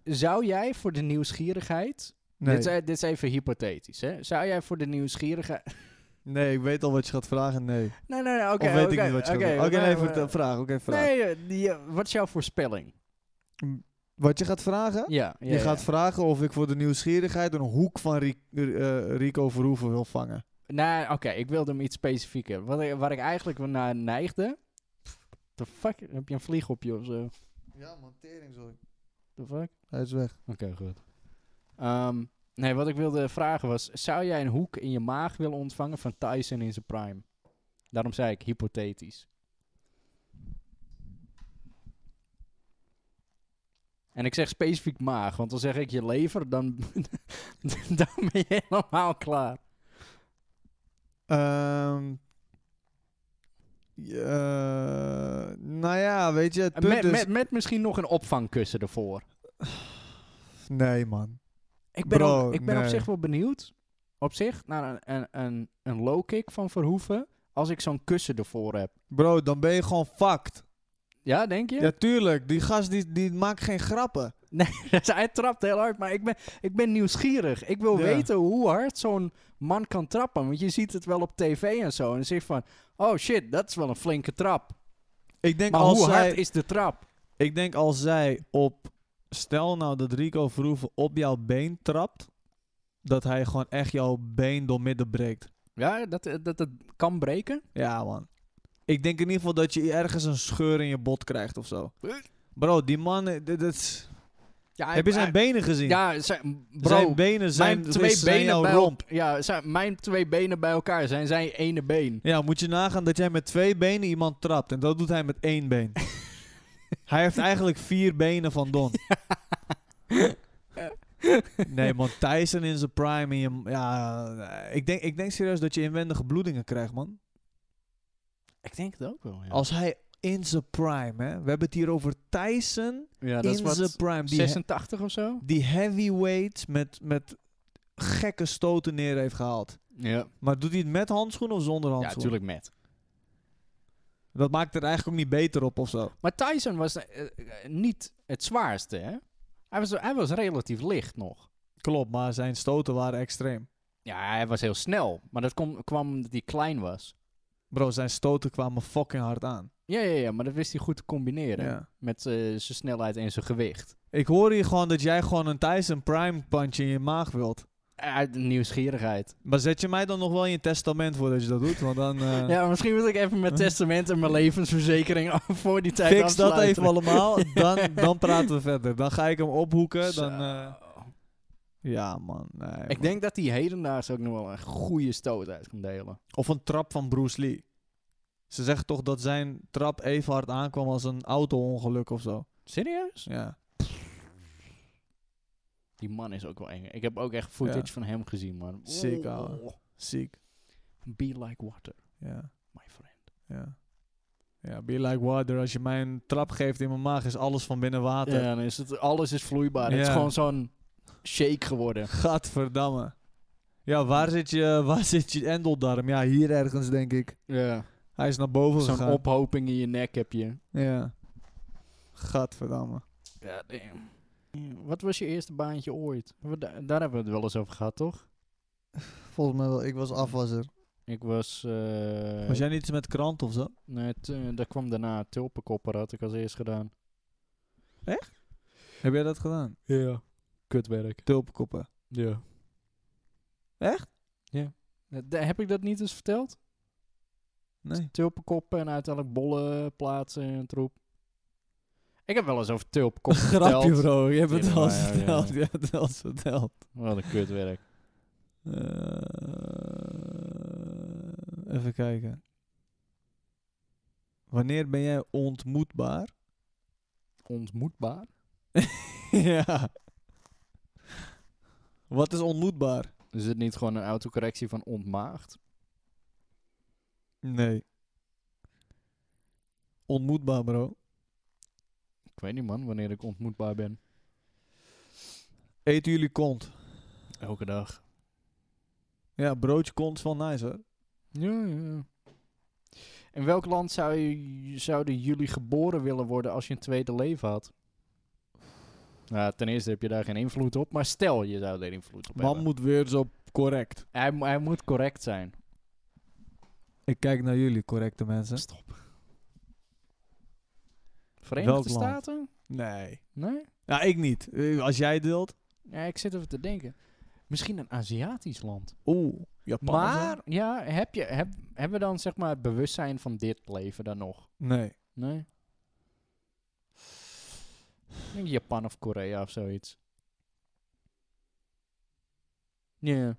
Speaker 1: Zou jij voor de nieuwsgierigheid...
Speaker 2: Nee.
Speaker 1: Dit, is, dit is even hypothetisch, hè? Zou jij voor de nieuwsgierigheid...
Speaker 2: nee, ik weet al wat je gaat vragen. Nee.
Speaker 1: Nee, nee, nee, oké.
Speaker 2: of weet
Speaker 1: oké,
Speaker 2: ik niet wat je
Speaker 1: oké,
Speaker 2: gaat vragen. Oké,
Speaker 1: maar-
Speaker 2: nee, vertel, vraag. Oké, vraag.
Speaker 1: Nee, eh, die, eh, wat is jouw voorspelling?
Speaker 2: Wat je gaat vragen?
Speaker 1: Ja, ja,
Speaker 2: je
Speaker 1: ja.
Speaker 2: gaat vragen of ik voor de nieuwsgierigheid een hoek van Ri- eh, Rico Verhoeven wil vangen.
Speaker 1: Nee, Nou, oké, ik wilde hem iets specifieker. Wat, ik- waar ik eigenlijk naar neigde... The fuck? Heb je een vlieg op je of zo?
Speaker 2: Ja, man, tering, sorry.
Speaker 1: The fuck?
Speaker 2: Hij is weg.
Speaker 1: Oké, goed. Ehm, nee, wat ik wilde vragen was... Zou jij een hoek in je maag willen ontvangen van Tyson in zijn prime? Daarom zei ik hypothetisch. En ik zeg specifiek maag, want dan zeg ik je lever, dan, dan ben je helemaal klaar.
Speaker 2: Ehm, ja, nou ja, weet je, het punt
Speaker 1: Met,
Speaker 2: is...
Speaker 1: met, met misschien nog een opvangkussen ervoor.
Speaker 2: Nee, man.
Speaker 1: Ik ben,
Speaker 2: Bro,
Speaker 1: op, ik ben op
Speaker 2: nee.
Speaker 1: zich wel benieuwd. Op zich naar een, een, een, een low kick van Verhoeven. Als ik zo'n kussen ervoor heb.
Speaker 2: Bro, dan ben je gewoon fucked.
Speaker 1: Ja, denk je?
Speaker 2: Ja, tuurlijk. Die gast die, die maakt geen grappen.
Speaker 1: Dus hij trapt heel hard, maar ik ben, ik ben nieuwsgierig. Ik wil
Speaker 2: Ja.
Speaker 1: weten hoe hard zo'n man kan trappen. Want je ziet het wel op tv en zo. En dan zeg je van, oh shit, dat is wel een flinke trap.
Speaker 2: Ik denk,
Speaker 1: Maar
Speaker 2: als
Speaker 1: hoe
Speaker 2: zij,
Speaker 1: hard is de trap?
Speaker 2: ik denk als zij op... Stel nou dat Rico Verhoeven op jouw been trapt... Dat hij gewoon echt jouw been doormidden breekt.
Speaker 1: Ja, dat dat, dat kan breken.
Speaker 2: Ja, man. Ik denk in ieder geval dat je ergens een scheur in je bot krijgt of zo.
Speaker 1: Eh?
Speaker 2: Bro, die man... eh, dit- dit is-
Speaker 1: Ja,
Speaker 2: Heb je zijn
Speaker 1: hij-
Speaker 2: benen gezien?
Speaker 1: Ja, zijn, bro,
Speaker 2: zijn benen zijn,
Speaker 1: mijn twee
Speaker 2: zijn
Speaker 1: benen
Speaker 2: jouw
Speaker 1: bij
Speaker 2: romp.
Speaker 1: elkaar. Ja, zijn, mijn twee benen bij elkaar zijn zijn ene been.
Speaker 2: Ja, moet je nagaan dat jij met twee benen iemand trapt. En dat doet hij met één been. hij heeft eigenlijk vier benen van Don. nee man, Tyson in zijn prime. In je, ja, ik, denk, ik denk serieus dat je inwendige bloedingen krijgt man.
Speaker 1: Ik denk het ook wel, ja.
Speaker 2: Als hij in zijn prime, hè. We hebben het hier over Tyson
Speaker 1: ja, dat is
Speaker 2: in zijn
Speaker 1: wat,
Speaker 2: prime. Die, he-
Speaker 1: 86 of zo?
Speaker 2: die heavyweight met, met gekke stoten neer heeft gehaald.
Speaker 1: Ja,
Speaker 2: Maar doet hij het met handschoenen of zonder
Speaker 1: ja
Speaker 2: handschoenen?
Speaker 1: natuurlijk met.
Speaker 2: Dat maakt het eigenlijk ook niet beter op of zo.
Speaker 1: Maar Tyson was eh, eh, niet het zwaarste, hè? Hij was, hij was relatief licht nog.
Speaker 2: Klopt, maar zijn stoten waren extreem.
Speaker 1: Ja, hij was heel snel. Maar dat kom, kwam omdat hij klein was.
Speaker 2: Bro, zijn stoten kwamen fucking hard aan.
Speaker 1: Ja, ja, ja, maar dat wist hij goed te combineren.
Speaker 2: Ja.
Speaker 1: Met eh, zijn snelheid en zijn gewicht.
Speaker 2: Ik hoor hier gewoon dat jij gewoon een Tyson Prime punch in je maag wilt.
Speaker 1: Uit de nieuwsgierigheid.
Speaker 2: Maar zet je mij dan nog wel in je testament voor dat je dat doet? Want dan eh,
Speaker 1: Ja, misschien moet ik even mijn testament en mijn levensverzekering af- voor die tijd
Speaker 2: fix dat even
Speaker 1: afsluiten.
Speaker 2: allemaal. Dan, dan praten we verder. Dan ga ik hem ophoeken.
Speaker 1: Zo.
Speaker 2: Dan, eh, ja, man. nee, man.
Speaker 1: ik denk dat hij hedendaags ook nog wel een goede stoot uit kan delen.
Speaker 2: Of een trap van Bruce Lee. Ze zeggen toch dat zijn trap even hard aankwam als een auto-ongeluk of zo.
Speaker 1: Serieus?
Speaker 2: Ja.
Speaker 1: Die man is ook wel eng. Ik heb ook echt footage van hem gezien, man. Oh,
Speaker 2: Sick, ouwe. Ziek.
Speaker 1: Be like water,
Speaker 2: Ja.
Speaker 1: my friend.
Speaker 2: Ja. Ja, be like water. Als je mij een trap geeft in mijn maag, is alles van binnen water.
Speaker 1: Ja, dan is het, alles is vloeibaar. Het is
Speaker 2: Ja.
Speaker 1: gewoon zo'n shake geworden.
Speaker 2: Gadverdamme. Ja, waar zit, je, waar zit je endeldarm? Ja, hier ergens, denk ik.
Speaker 1: Ja.
Speaker 2: Hij is naar boven
Speaker 1: Zo'n
Speaker 2: gegaan.
Speaker 1: ophoping in je nek heb je.
Speaker 2: Ja. Gadverdamme.
Speaker 1: Ja, damn. Ja, Wat was je eerste baantje ooit? We- da- daar hebben we het wel eens over gehad, toch?
Speaker 2: Volgens mij wel. Ik was afwasser.
Speaker 1: Ik was... eh,
Speaker 2: Was jij niet iets met krant of zo?
Speaker 1: nee, t- eh, dat kwam daarna. Tulpenkopper had ik als eerst gedaan.
Speaker 2: Heb jij dat gedaan?
Speaker 1: Ja. Kutwerk.
Speaker 2: Tulpenkoppen.
Speaker 1: Ja.
Speaker 2: Echt?
Speaker 1: Ja. Eh, da- heb ik dat niet eens verteld?
Speaker 2: Nee.
Speaker 1: Tulpenkoppen en uiteindelijk bollen plaatsen en troep. Ik heb wel eens over tulpenkoppen
Speaker 2: Grapje
Speaker 1: verteld.
Speaker 2: bro, je hebt het
Speaker 1: Tuurlijk,
Speaker 2: al
Speaker 1: maar ja, ja,
Speaker 2: eens verteld.
Speaker 1: ja.
Speaker 2: Je hebt het al eens verteld.
Speaker 1: Wat een kutwerk.
Speaker 2: Eh, even kijken. Wanneer ben jij ontmoetbaar?
Speaker 1: Ontmoetbaar.
Speaker 2: ja. Wat is ontmoetbaar?
Speaker 1: Is dit niet gewoon een autocorrectie van ontmaagd?
Speaker 2: Nee. Ontmoetbaar, bro.
Speaker 1: Ik weet niet man, wanneer ik ontmoetbaar ben.
Speaker 2: Eten jullie kont?
Speaker 1: Elke dag.
Speaker 2: Ja, broodje kont is wel nice, hoor.
Speaker 1: Ja, ja. In welk land zou je, zouden jullie geboren willen worden als je een tweede leven had? Nou, ten eerste heb je daar geen invloed op, maar stel je zou er invloed op
Speaker 2: Man
Speaker 1: hebben.
Speaker 2: moet weer zo correct.
Speaker 1: Hij, mo- hij moet correct zijn.
Speaker 2: Ik kijk naar jullie, correcte mensen.
Speaker 1: Stop. Verenigde
Speaker 2: Welk land?
Speaker 1: Staten?
Speaker 2: Nee.
Speaker 1: Nee?
Speaker 2: Ja, ik niet. Eh, Als jij het wilt.
Speaker 1: Ja, ik zit even te denken. Misschien een Aziatisch land.
Speaker 2: Oeh, Japan. of zo?
Speaker 1: Maar, ja, heb je, heb, hebben we dan zeg maar het bewustzijn van dit leven dan nog?
Speaker 2: Nee.
Speaker 1: Nee? Ik denk Japan of Korea of zoiets. Ja,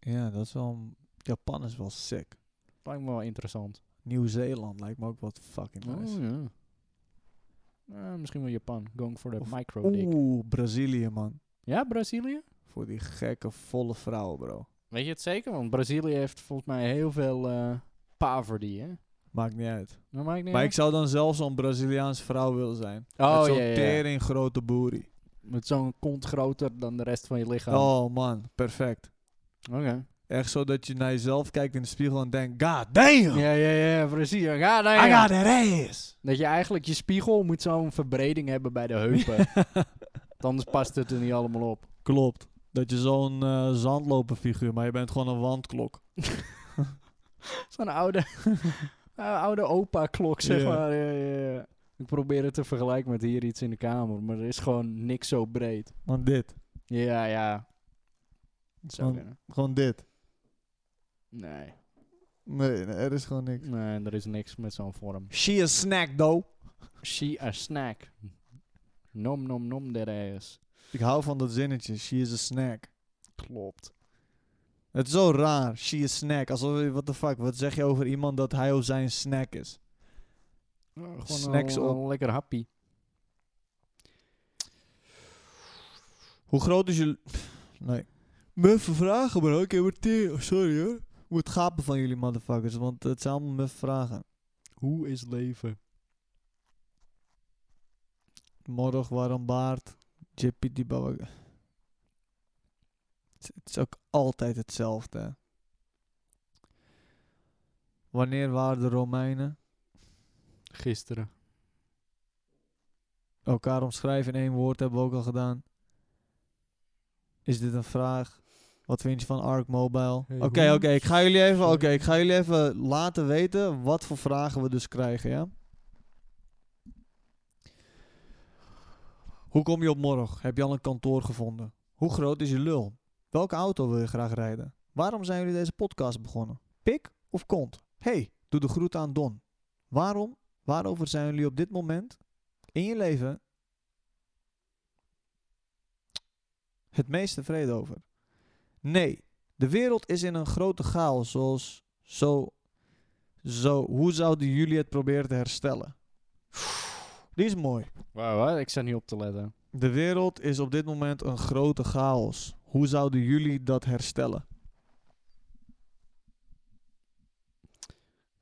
Speaker 2: Ja, dat is wel... Japan is wel sick.
Speaker 1: lijkt me wel interessant.
Speaker 2: Nieuw-Zeeland lijkt me ook wat fucking nice.
Speaker 1: Oh, ja. Eh, misschien wel Japan. Going for the
Speaker 2: Of-
Speaker 1: micro dick.
Speaker 2: Oeh, Brazilië, man.
Speaker 1: Ja, Brazilië?
Speaker 2: Voor die gekke, volle vrouwen, bro.
Speaker 1: Weet je het zeker? Want Brazilië heeft volgens mij heel veel eh paverdy, hè?
Speaker 2: Maakt niet uit.
Speaker 1: Dat maakt niet
Speaker 2: Maar ik
Speaker 1: uit.
Speaker 2: zou dan zelf zo'n Braziliaans vrouw willen zijn.
Speaker 1: oh,
Speaker 2: Met zo'n
Speaker 1: ja, ja, ja.
Speaker 2: tering grote boerie.
Speaker 1: Met zo'n kont groter dan de rest van je lichaam.
Speaker 2: Oh man, perfect.
Speaker 1: Oké.
Speaker 2: Echt zo dat je naar jezelf kijkt in de spiegel en denkt... God damn!
Speaker 1: Ja, ja, ja, precies. Ja, nou
Speaker 2: I
Speaker 1: ja.
Speaker 2: got an ass!
Speaker 1: Dat je eigenlijk je spiegel moet zo'n verbreding hebben bij de heupen. Want Anders past het er niet allemaal op.
Speaker 2: Klopt. Dat je zo'n eh zandloperfiguur... Maar je bent gewoon een wandklok.
Speaker 1: Zo'n oude, eh, oude opa-klok, zeg
Speaker 2: Ja.
Speaker 1: maar. Ja, ja, ja. Ik probeer het te vergelijken met hier iets in de kamer, maar er is gewoon niks zo breed.
Speaker 2: Want dit.
Speaker 1: Ja, ja. Dat zou
Speaker 2: Want-
Speaker 1: kunnen.
Speaker 2: Gewoon dit.
Speaker 1: Nee.
Speaker 2: Nee, nee, er is gewoon niks.
Speaker 1: Nee, er is niks met zo'n vorm.
Speaker 2: She a snack, though.
Speaker 1: She a snack. Nom nom nom that ass.
Speaker 2: Ik hou van dat zinnetje. She is a snack.
Speaker 1: Klopt.
Speaker 2: Het is zo raar. She is snack. Alsof, what the fuck, wat zeg je over iemand dat hij of zij een snack is?
Speaker 1: Gewoon
Speaker 2: Snacks
Speaker 1: al,
Speaker 2: op.
Speaker 1: al lekker happy.
Speaker 2: Hoe groot is je... Nee. Muffe vragen, bro. Ik heb er tien. Oh, Sorry, hoor. Ik moet gapen van jullie motherfuckers, want het zijn allemaal muffe vragen.
Speaker 1: Hoe is leven?
Speaker 2: Morg, waarom baard? Jippie die baba. Het is- het is ook altijd hetzelfde. hè. Wanneer waren de Romeinen?
Speaker 1: Gisteren.
Speaker 2: Elkaar omschrijven in één woord hebben we ook al gedaan. Is dit een vraag? Wat vind je van Arc Mobile?
Speaker 1: Hey,
Speaker 2: Oké,
Speaker 1: hoe-
Speaker 2: oké, ik ga jullie even, oké,
Speaker 1: Sorry.
Speaker 2: ik ga jullie even laten weten wat voor vragen we dus krijgen, ja? Hoe kom je op morgen? Heb je al een kantoor gevonden? Hoe groot is je lul? Welke auto wil je graag rijden? Waarom zijn jullie deze podcast begonnen? Pik of kont? Hey, doe de groet aan Don. Waarom? Waarover zijn jullie op dit moment in je leven het meest tevreden over? Nee, de wereld is in een grote chaos, zoals zo. Zo, hoe zouden jullie het proberen te herstellen? Die is mooi.
Speaker 1: Waar, waar? Ik sta niet op te letten.
Speaker 2: De wereld is op dit moment een grote chaos. Hoe zouden jullie dat herstellen?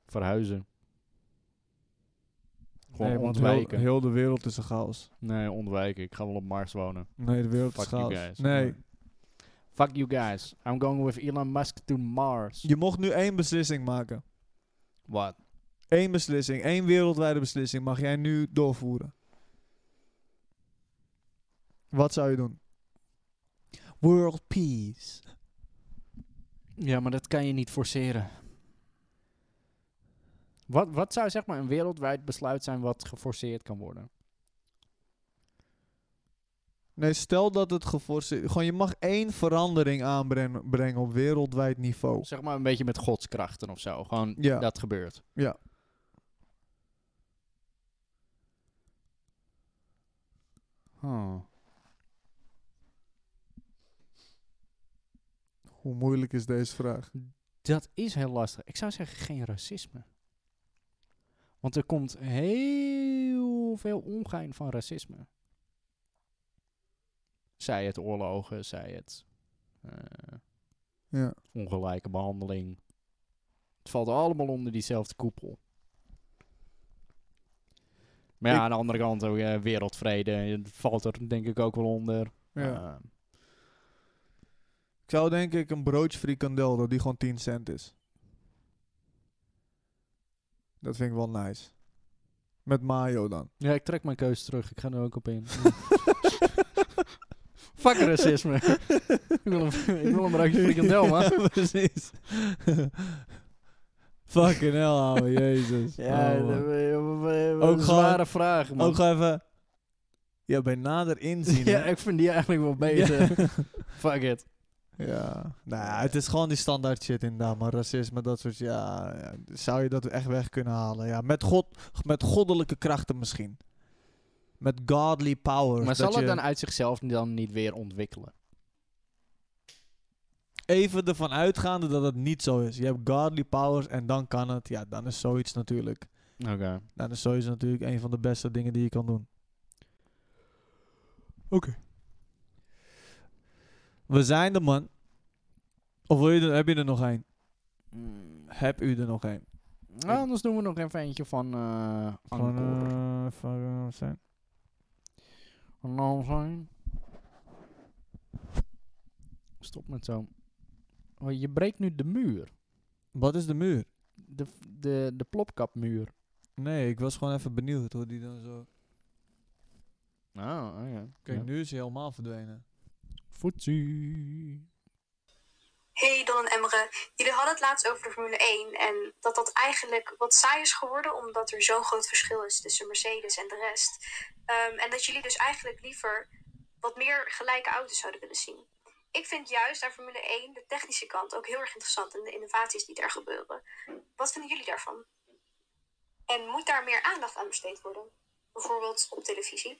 Speaker 1: Verhuizen. Gewoon
Speaker 2: Nee, want
Speaker 1: ontwijken.
Speaker 2: Heel, heel de wereld is een chaos.
Speaker 1: Nee, ontwijken. Ik ga wel op Mars wonen.
Speaker 2: Nee, de wereld
Speaker 1: Fuck
Speaker 2: is
Speaker 1: you
Speaker 2: chaos.
Speaker 1: guys.
Speaker 2: Nee,
Speaker 1: Fuck you guys. I'm going with Elon Musk to Mars.
Speaker 2: je mocht nu één beslissing maken.
Speaker 1: Wat?
Speaker 2: Eén beslissing, één wereldwijde beslissing mag jij nu doorvoeren. Wat zou je doen? World peace.
Speaker 1: Ja, maar dat kan je niet forceren. Wat, wat zou zeg maar een wereldwijd besluit zijn wat geforceerd kan worden?
Speaker 2: Nee, stel dat het geforceerd... Gewoon, je mag één verandering aanbrengen brengen op wereldwijd niveau.
Speaker 1: Zeg maar een beetje met godskrachten of zo. Gewoon
Speaker 2: Ja.
Speaker 1: dat gebeurt.
Speaker 2: Ja.
Speaker 1: Huh.
Speaker 2: Hoe moeilijk is deze vraag?
Speaker 1: Dat is heel lastig. Ik zou zeggen geen racisme. Want er komt heel veel ongein van racisme. Zij het oorlogen, zij het eh,
Speaker 2: Ja.
Speaker 1: ongelijke behandeling. Het valt allemaal onder diezelfde koepel. Maar ja,
Speaker 2: Ik-
Speaker 1: aan de andere kant ook eh, wereldvrede. Het valt er denk ik ook wel onder.
Speaker 2: ja.
Speaker 1: Eh,
Speaker 2: Ik zou denk ik een broodje frikandel, dat die gewoon 10 cent is. Dat vind ik wel nice. Met mayo dan.
Speaker 1: ja, ik trek mijn keuze terug. Ik ga er ook op in. Fuck racisme. ik, wil een, ik wil een broodje frikandel, man.
Speaker 2: Ja, precies. Fucking hell, ouwe, jezus. Oh,
Speaker 1: ook
Speaker 2: man. Ook
Speaker 1: zware
Speaker 2: gewoon-
Speaker 1: vragen, man.
Speaker 2: Ook gewoon even... Ja, bij nader inzien,
Speaker 1: ja,
Speaker 2: hè?
Speaker 1: ik vind die eigenlijk wel beter.
Speaker 2: Ja.
Speaker 1: Fuck it.
Speaker 2: Ja. Nou, ja, het is gewoon die standaard shit inderdaad. Maar racisme, dat soort... Ja, ja, zou je dat echt weg kunnen halen? Ja, met, God, met goddelijke krachten misschien. Met godly power.
Speaker 1: Maar
Speaker 2: dat
Speaker 1: zal het
Speaker 2: je
Speaker 1: dan uit zichzelf dan niet weer ontwikkelen?
Speaker 2: Even ervan uitgaande dat het niet zo is. Je hebt godly powers en dan kan het. Ja, dan is zoiets natuurlijk.
Speaker 1: Oké.
Speaker 2: Nou, Dan is zoiets natuurlijk een van de beste dingen die je kan doen. Oké. We zijn er, man. Of wil je er, heb je er nog een? Heb u er nog een?
Speaker 1: Nou, anders doen we nog even eentje van eh
Speaker 2: Van,
Speaker 1: Anker.
Speaker 2: eh, van, eh, zijn.
Speaker 1: Van Lam zijn. Stop met zo. Oh, je breekt nu de muur.
Speaker 2: Wat is de muur?
Speaker 1: De, de, de plopkapmuur.
Speaker 2: Nee, ik was gewoon even benieuwd hoe die dan zo...
Speaker 1: Oh, oh ja.
Speaker 2: Kijk,
Speaker 1: Ja.
Speaker 2: nu is hij helemaal verdwenen.
Speaker 1: Voetsie.
Speaker 4: Hey Don en Emre, jullie hadden het laatst over de Formule 1 en dat dat eigenlijk wat saai is geworden omdat er zo'n groot verschil is tussen Mercedes en de rest. Ehm, en dat jullie dus eigenlijk liever wat meer gelijke auto's zouden willen zien. Ik vind juist aan Formule 1 de technische kant ook heel erg interessant en de innovaties die daar gebeuren. Wat vinden jullie daarvan? En moet daar meer aandacht aan besteed worden? Bijvoorbeeld op televisie?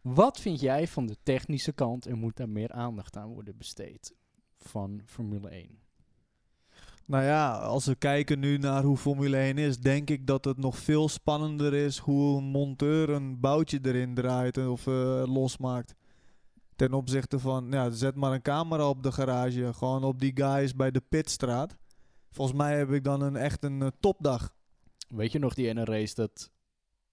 Speaker 1: Wat vind jij van de technische kant en moet daar meer aandacht aan worden besteed? Van Formule 1.
Speaker 2: Nou ja, als we kijken nu naar hoe Formule 1 is, denk ik dat het nog veel spannender is hoe een monteur een boutje erin draait of eh, losmaakt. Ten opzichte van, ja, zet maar een camera op de garage, gewoon op die guys bij de pitstraat. Volgens mij heb ik dan een, echt een eh, topdag.
Speaker 1: Weet je nog die ene race dat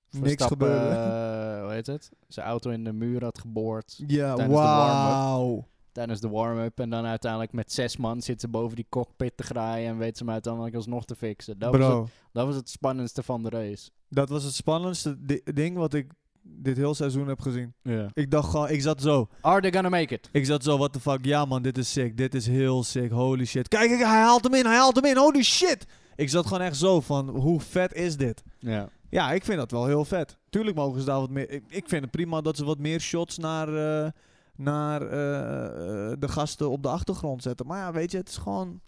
Speaker 2: Niks
Speaker 1: Verstappen,
Speaker 2: gebeurde.
Speaker 1: eh, hoe heet het? Zijn auto in de muur had geboord.
Speaker 2: Ja,
Speaker 1: tijdens de warm-up.
Speaker 2: wauw.
Speaker 1: tijdens de warm-up. En dan uiteindelijk met zes man zitten ze boven die cockpit te graaien. En weten ze hem uiteindelijk alsnog te fixen. Dat, Was het,
Speaker 2: Bro,
Speaker 1: dat was het spannendste van de race.
Speaker 2: dat was het spannendste di- ding wat ik dit heel seizoen heb gezien.
Speaker 1: Ja.
Speaker 2: Ik dacht gewoon, ik zat zo.
Speaker 1: Are they gonna make it?
Speaker 2: Ik zat zo, what the fuck, ja man, dit is sick, dit is heel sick, holy shit. Kijk, kijk, hij haalt hem in, hij haalt hem in, holy shit. Ik zat gewoon echt zo van, hoe vet is dit?
Speaker 1: Ja.
Speaker 2: Ja, ik vind dat wel heel vet. Tuurlijk mogen ze daar wat meer, ik, ik vind het prima dat ze wat meer shots naar, eh, naar eh, eh, de gasten op de achtergrond zetten. Maar ja, weet je, het is gewoon...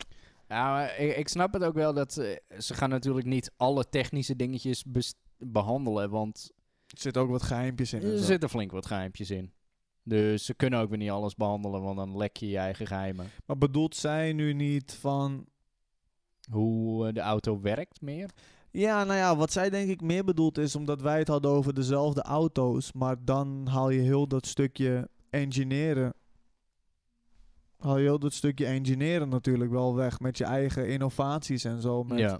Speaker 1: Ja, maar ik, ik snap het ook wel dat ze, ze gaan natuurlijk niet alle technische dingetjes bes- behandelen. Want
Speaker 2: Er zitten ook wat geheimpjes in.
Speaker 1: er zitten flink wat geheimpjes in. Dus ze kunnen ook weer niet alles behandelen, want dan lek je je eigen geheimen.
Speaker 2: Maar bedoelt zij nu niet van...
Speaker 1: Hoe eh, de auto werkt meer.
Speaker 2: Ja, nou ja, wat zij denk ik meer bedoelt is omdat wij het hadden over dezelfde auto's, maar dan haal je heel dat stukje engineeren. Haal je heel dat stukje engineeren natuurlijk wel weg met je eigen innovaties en zo. Met
Speaker 1: ja.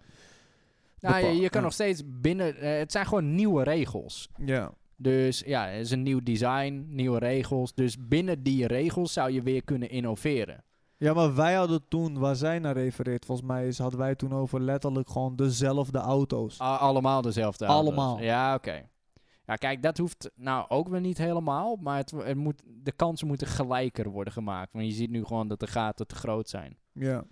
Speaker 1: Nou, je,
Speaker 2: bepa-
Speaker 1: je kan
Speaker 2: ja.
Speaker 1: nog steeds binnen... eh, het zijn gewoon nieuwe regels.
Speaker 2: Ja.
Speaker 1: Dus ja, het is een nieuw design, nieuwe regels. Dus binnen die regels zou je weer kunnen innoveren.
Speaker 2: ja, maar wij hadden toen, waar zij naar refereert, volgens mij is, hadden wij toen over letterlijk gewoon dezelfde auto's.
Speaker 1: A- allemaal dezelfde auto's.
Speaker 2: Allemaal.
Speaker 1: Ja, oké. Ja, kijk, dat hoeft nou ook weer niet helemaal. Maar het, het moet, de kansen moeten gelijker worden gemaakt. Want je ziet nu gewoon dat de gaten te groot zijn. eh,
Speaker 2: Ja.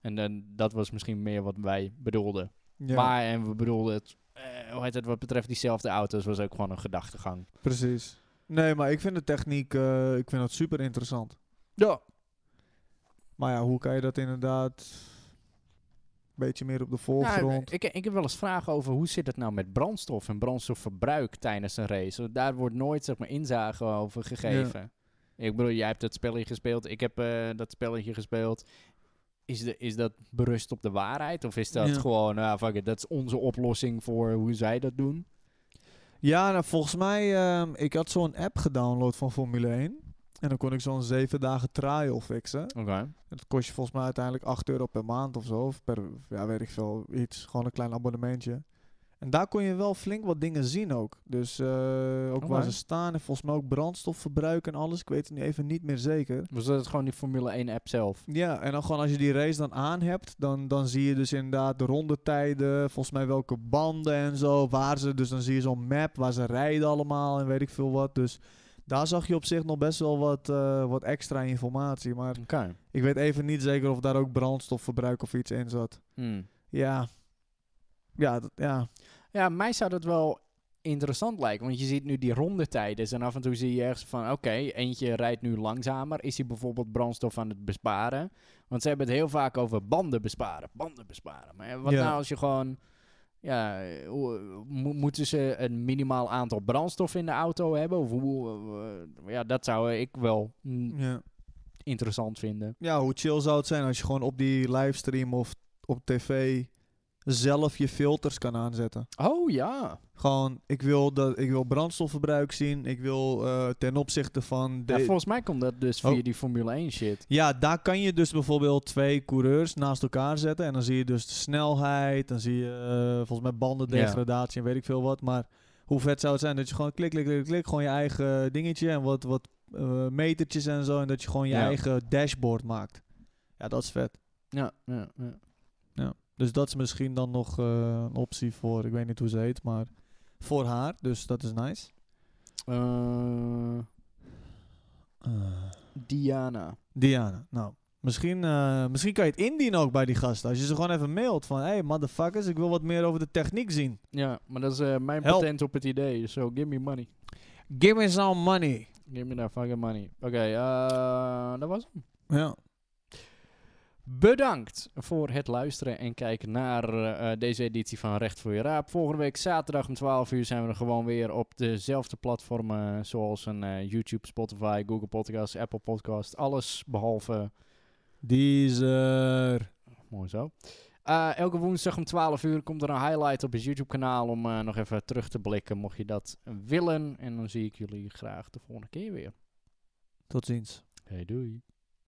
Speaker 1: En dan, dat was misschien meer wat wij bedoelden.
Speaker 2: ja.
Speaker 1: Maar en we bedoelden het eh, hoe heet het, wat betreft diezelfde auto's was ook gewoon een gedachtegang.
Speaker 2: Precies. Nee, maar ik vind de techniek, eh, ik vind dat super interessant.
Speaker 1: Ja.
Speaker 2: Maar ja, hoe kan je dat inderdaad een beetje meer op de
Speaker 1: Nou,
Speaker 2: voorgrond?
Speaker 1: ik, ik heb wel eens vragen over hoe zit het nou met brandstof en brandstofverbruik tijdens een race. Want Daar wordt nooit zeg maar, inzage over gegeven. Ik bedoel, jij hebt dat spelletje gespeeld, ik heb eh, dat spelletje gespeeld. Is, de, is dat berust op de waarheid? Of is dat
Speaker 2: Ja.
Speaker 1: gewoon, nou fuck it, dat is onze oplossing voor hoe zij dat doen?
Speaker 2: Ja, nou, volgens mij, ehm, ik had zo'n app gedownload van Formule 1. En dan kon ik zo'n zeven dagen trial fixen.
Speaker 1: Oké.
Speaker 2: En Dat kost je volgens mij uiteindelijk 8 euro per maand of zo. Of per, ja, weet ik veel, iets. Gewoon een klein abonnementje. En daar kon je wel flink wat dingen zien ook. Dus eh, ook
Speaker 1: Oké.
Speaker 2: waar ze staan en volgens mij ook brandstofverbruik en alles. Ik weet het nu even niet meer zeker.
Speaker 1: Was dat gewoon die Formule 1 app zelf?
Speaker 2: Ja, en dan gewoon als je die race dan aan hebt, dan, dan zie je dus inderdaad de rondetijden, volgens mij welke banden en zo, waar ze, dus dan zie je zo'n map waar ze rijden allemaal en weet ik veel wat. Dus daar zag je op zich nog best wel wat, eh, wat extra informatie, maar
Speaker 1: Oké.
Speaker 2: ik weet even niet zeker of daar ook brandstofverbruik of iets in zat.
Speaker 1: Hmm.
Speaker 2: Ja. Ja, dat- ja.
Speaker 1: Ja, mij zou dat wel interessant lijken. Want je ziet nu die rondetijden. En af en toe zie je ergens van... Oké, eentje rijdt nu langzamer. Is hij bijvoorbeeld brandstof aan het besparen? Want ze hebben het heel vaak over banden besparen. Banden besparen. Maar ja, wat
Speaker 2: Ja.
Speaker 1: nou als je gewoon... Ja, hoe- mo- moeten ze een minimaal aantal brandstof in de auto hebben? Of hoe, eh, ja, dat zou ik wel mm,
Speaker 2: ja.
Speaker 1: interessant vinden.
Speaker 2: Ja, hoe chill zou het zijn als je gewoon op die livestream of op tv zelf je filters kan aanzetten?
Speaker 1: Oh ja.
Speaker 2: Gewoon, ik wil, dat, ik wil brandstofverbruik zien. Ik wil eh, ten opzichte van... De,
Speaker 1: ja.
Speaker 2: ja,
Speaker 1: Volgens mij komt dat dus via
Speaker 2: Oh.
Speaker 1: die Formule 1 shit.
Speaker 2: daar kan je dus bijvoorbeeld twee coureurs naast elkaar zetten. En dan zie je dus de snelheid. Dan zie je eh, volgens mij bandendegradatie en weet ik veel wat. Maar hoe vet zou het zijn dat je gewoon klik, klik, klik, klik. Gewoon je eigen dingetje en wat, wat eh, metertjes en zo. En dat je gewoon je
Speaker 1: Ja.
Speaker 2: eigen dashboard maakt. Ja, dat is vet.
Speaker 1: Ja, ja, ja.
Speaker 2: Dus dat is misschien dan nog eh, een optie voor, ik weet niet hoe ze heet, maar voor haar. Dus dat is nice.
Speaker 1: Eh, Diana.
Speaker 2: Diana, nou. Misschien, eh, misschien kan je het indienen ook bij die gasten. Als je ze gewoon even mailt van... Hey motherfuckers, ik wil wat meer over de techniek zien.
Speaker 1: Ja, maar dat is eh, mijn
Speaker 2: Help.
Speaker 1: patent op het idee. So give me money.
Speaker 2: Give me some money.
Speaker 1: Give me that fucking money. Oké, eh, dat was hem.
Speaker 2: Ja.
Speaker 1: Bedankt voor het luisteren en kijken naar eh, eh, deze editie van Recht voor je Raap. Volgende week zaterdag om 12 uur zijn we er gewoon weer op dezelfde platformen zoals een eh, YouTube, Spotify, Google Podcasts, Apple Podcasts. Alles behalve
Speaker 2: Deezer.
Speaker 1: Mooi zo. Eh, elke woensdag om 12 uur komt er een highlight op het YouTube-kanaal om eh, nog even terug te blikken, mocht je dat willen. En dan zie ik jullie graag de volgende keer weer.
Speaker 2: Tot ziens.
Speaker 1: 哎 Hey, doei.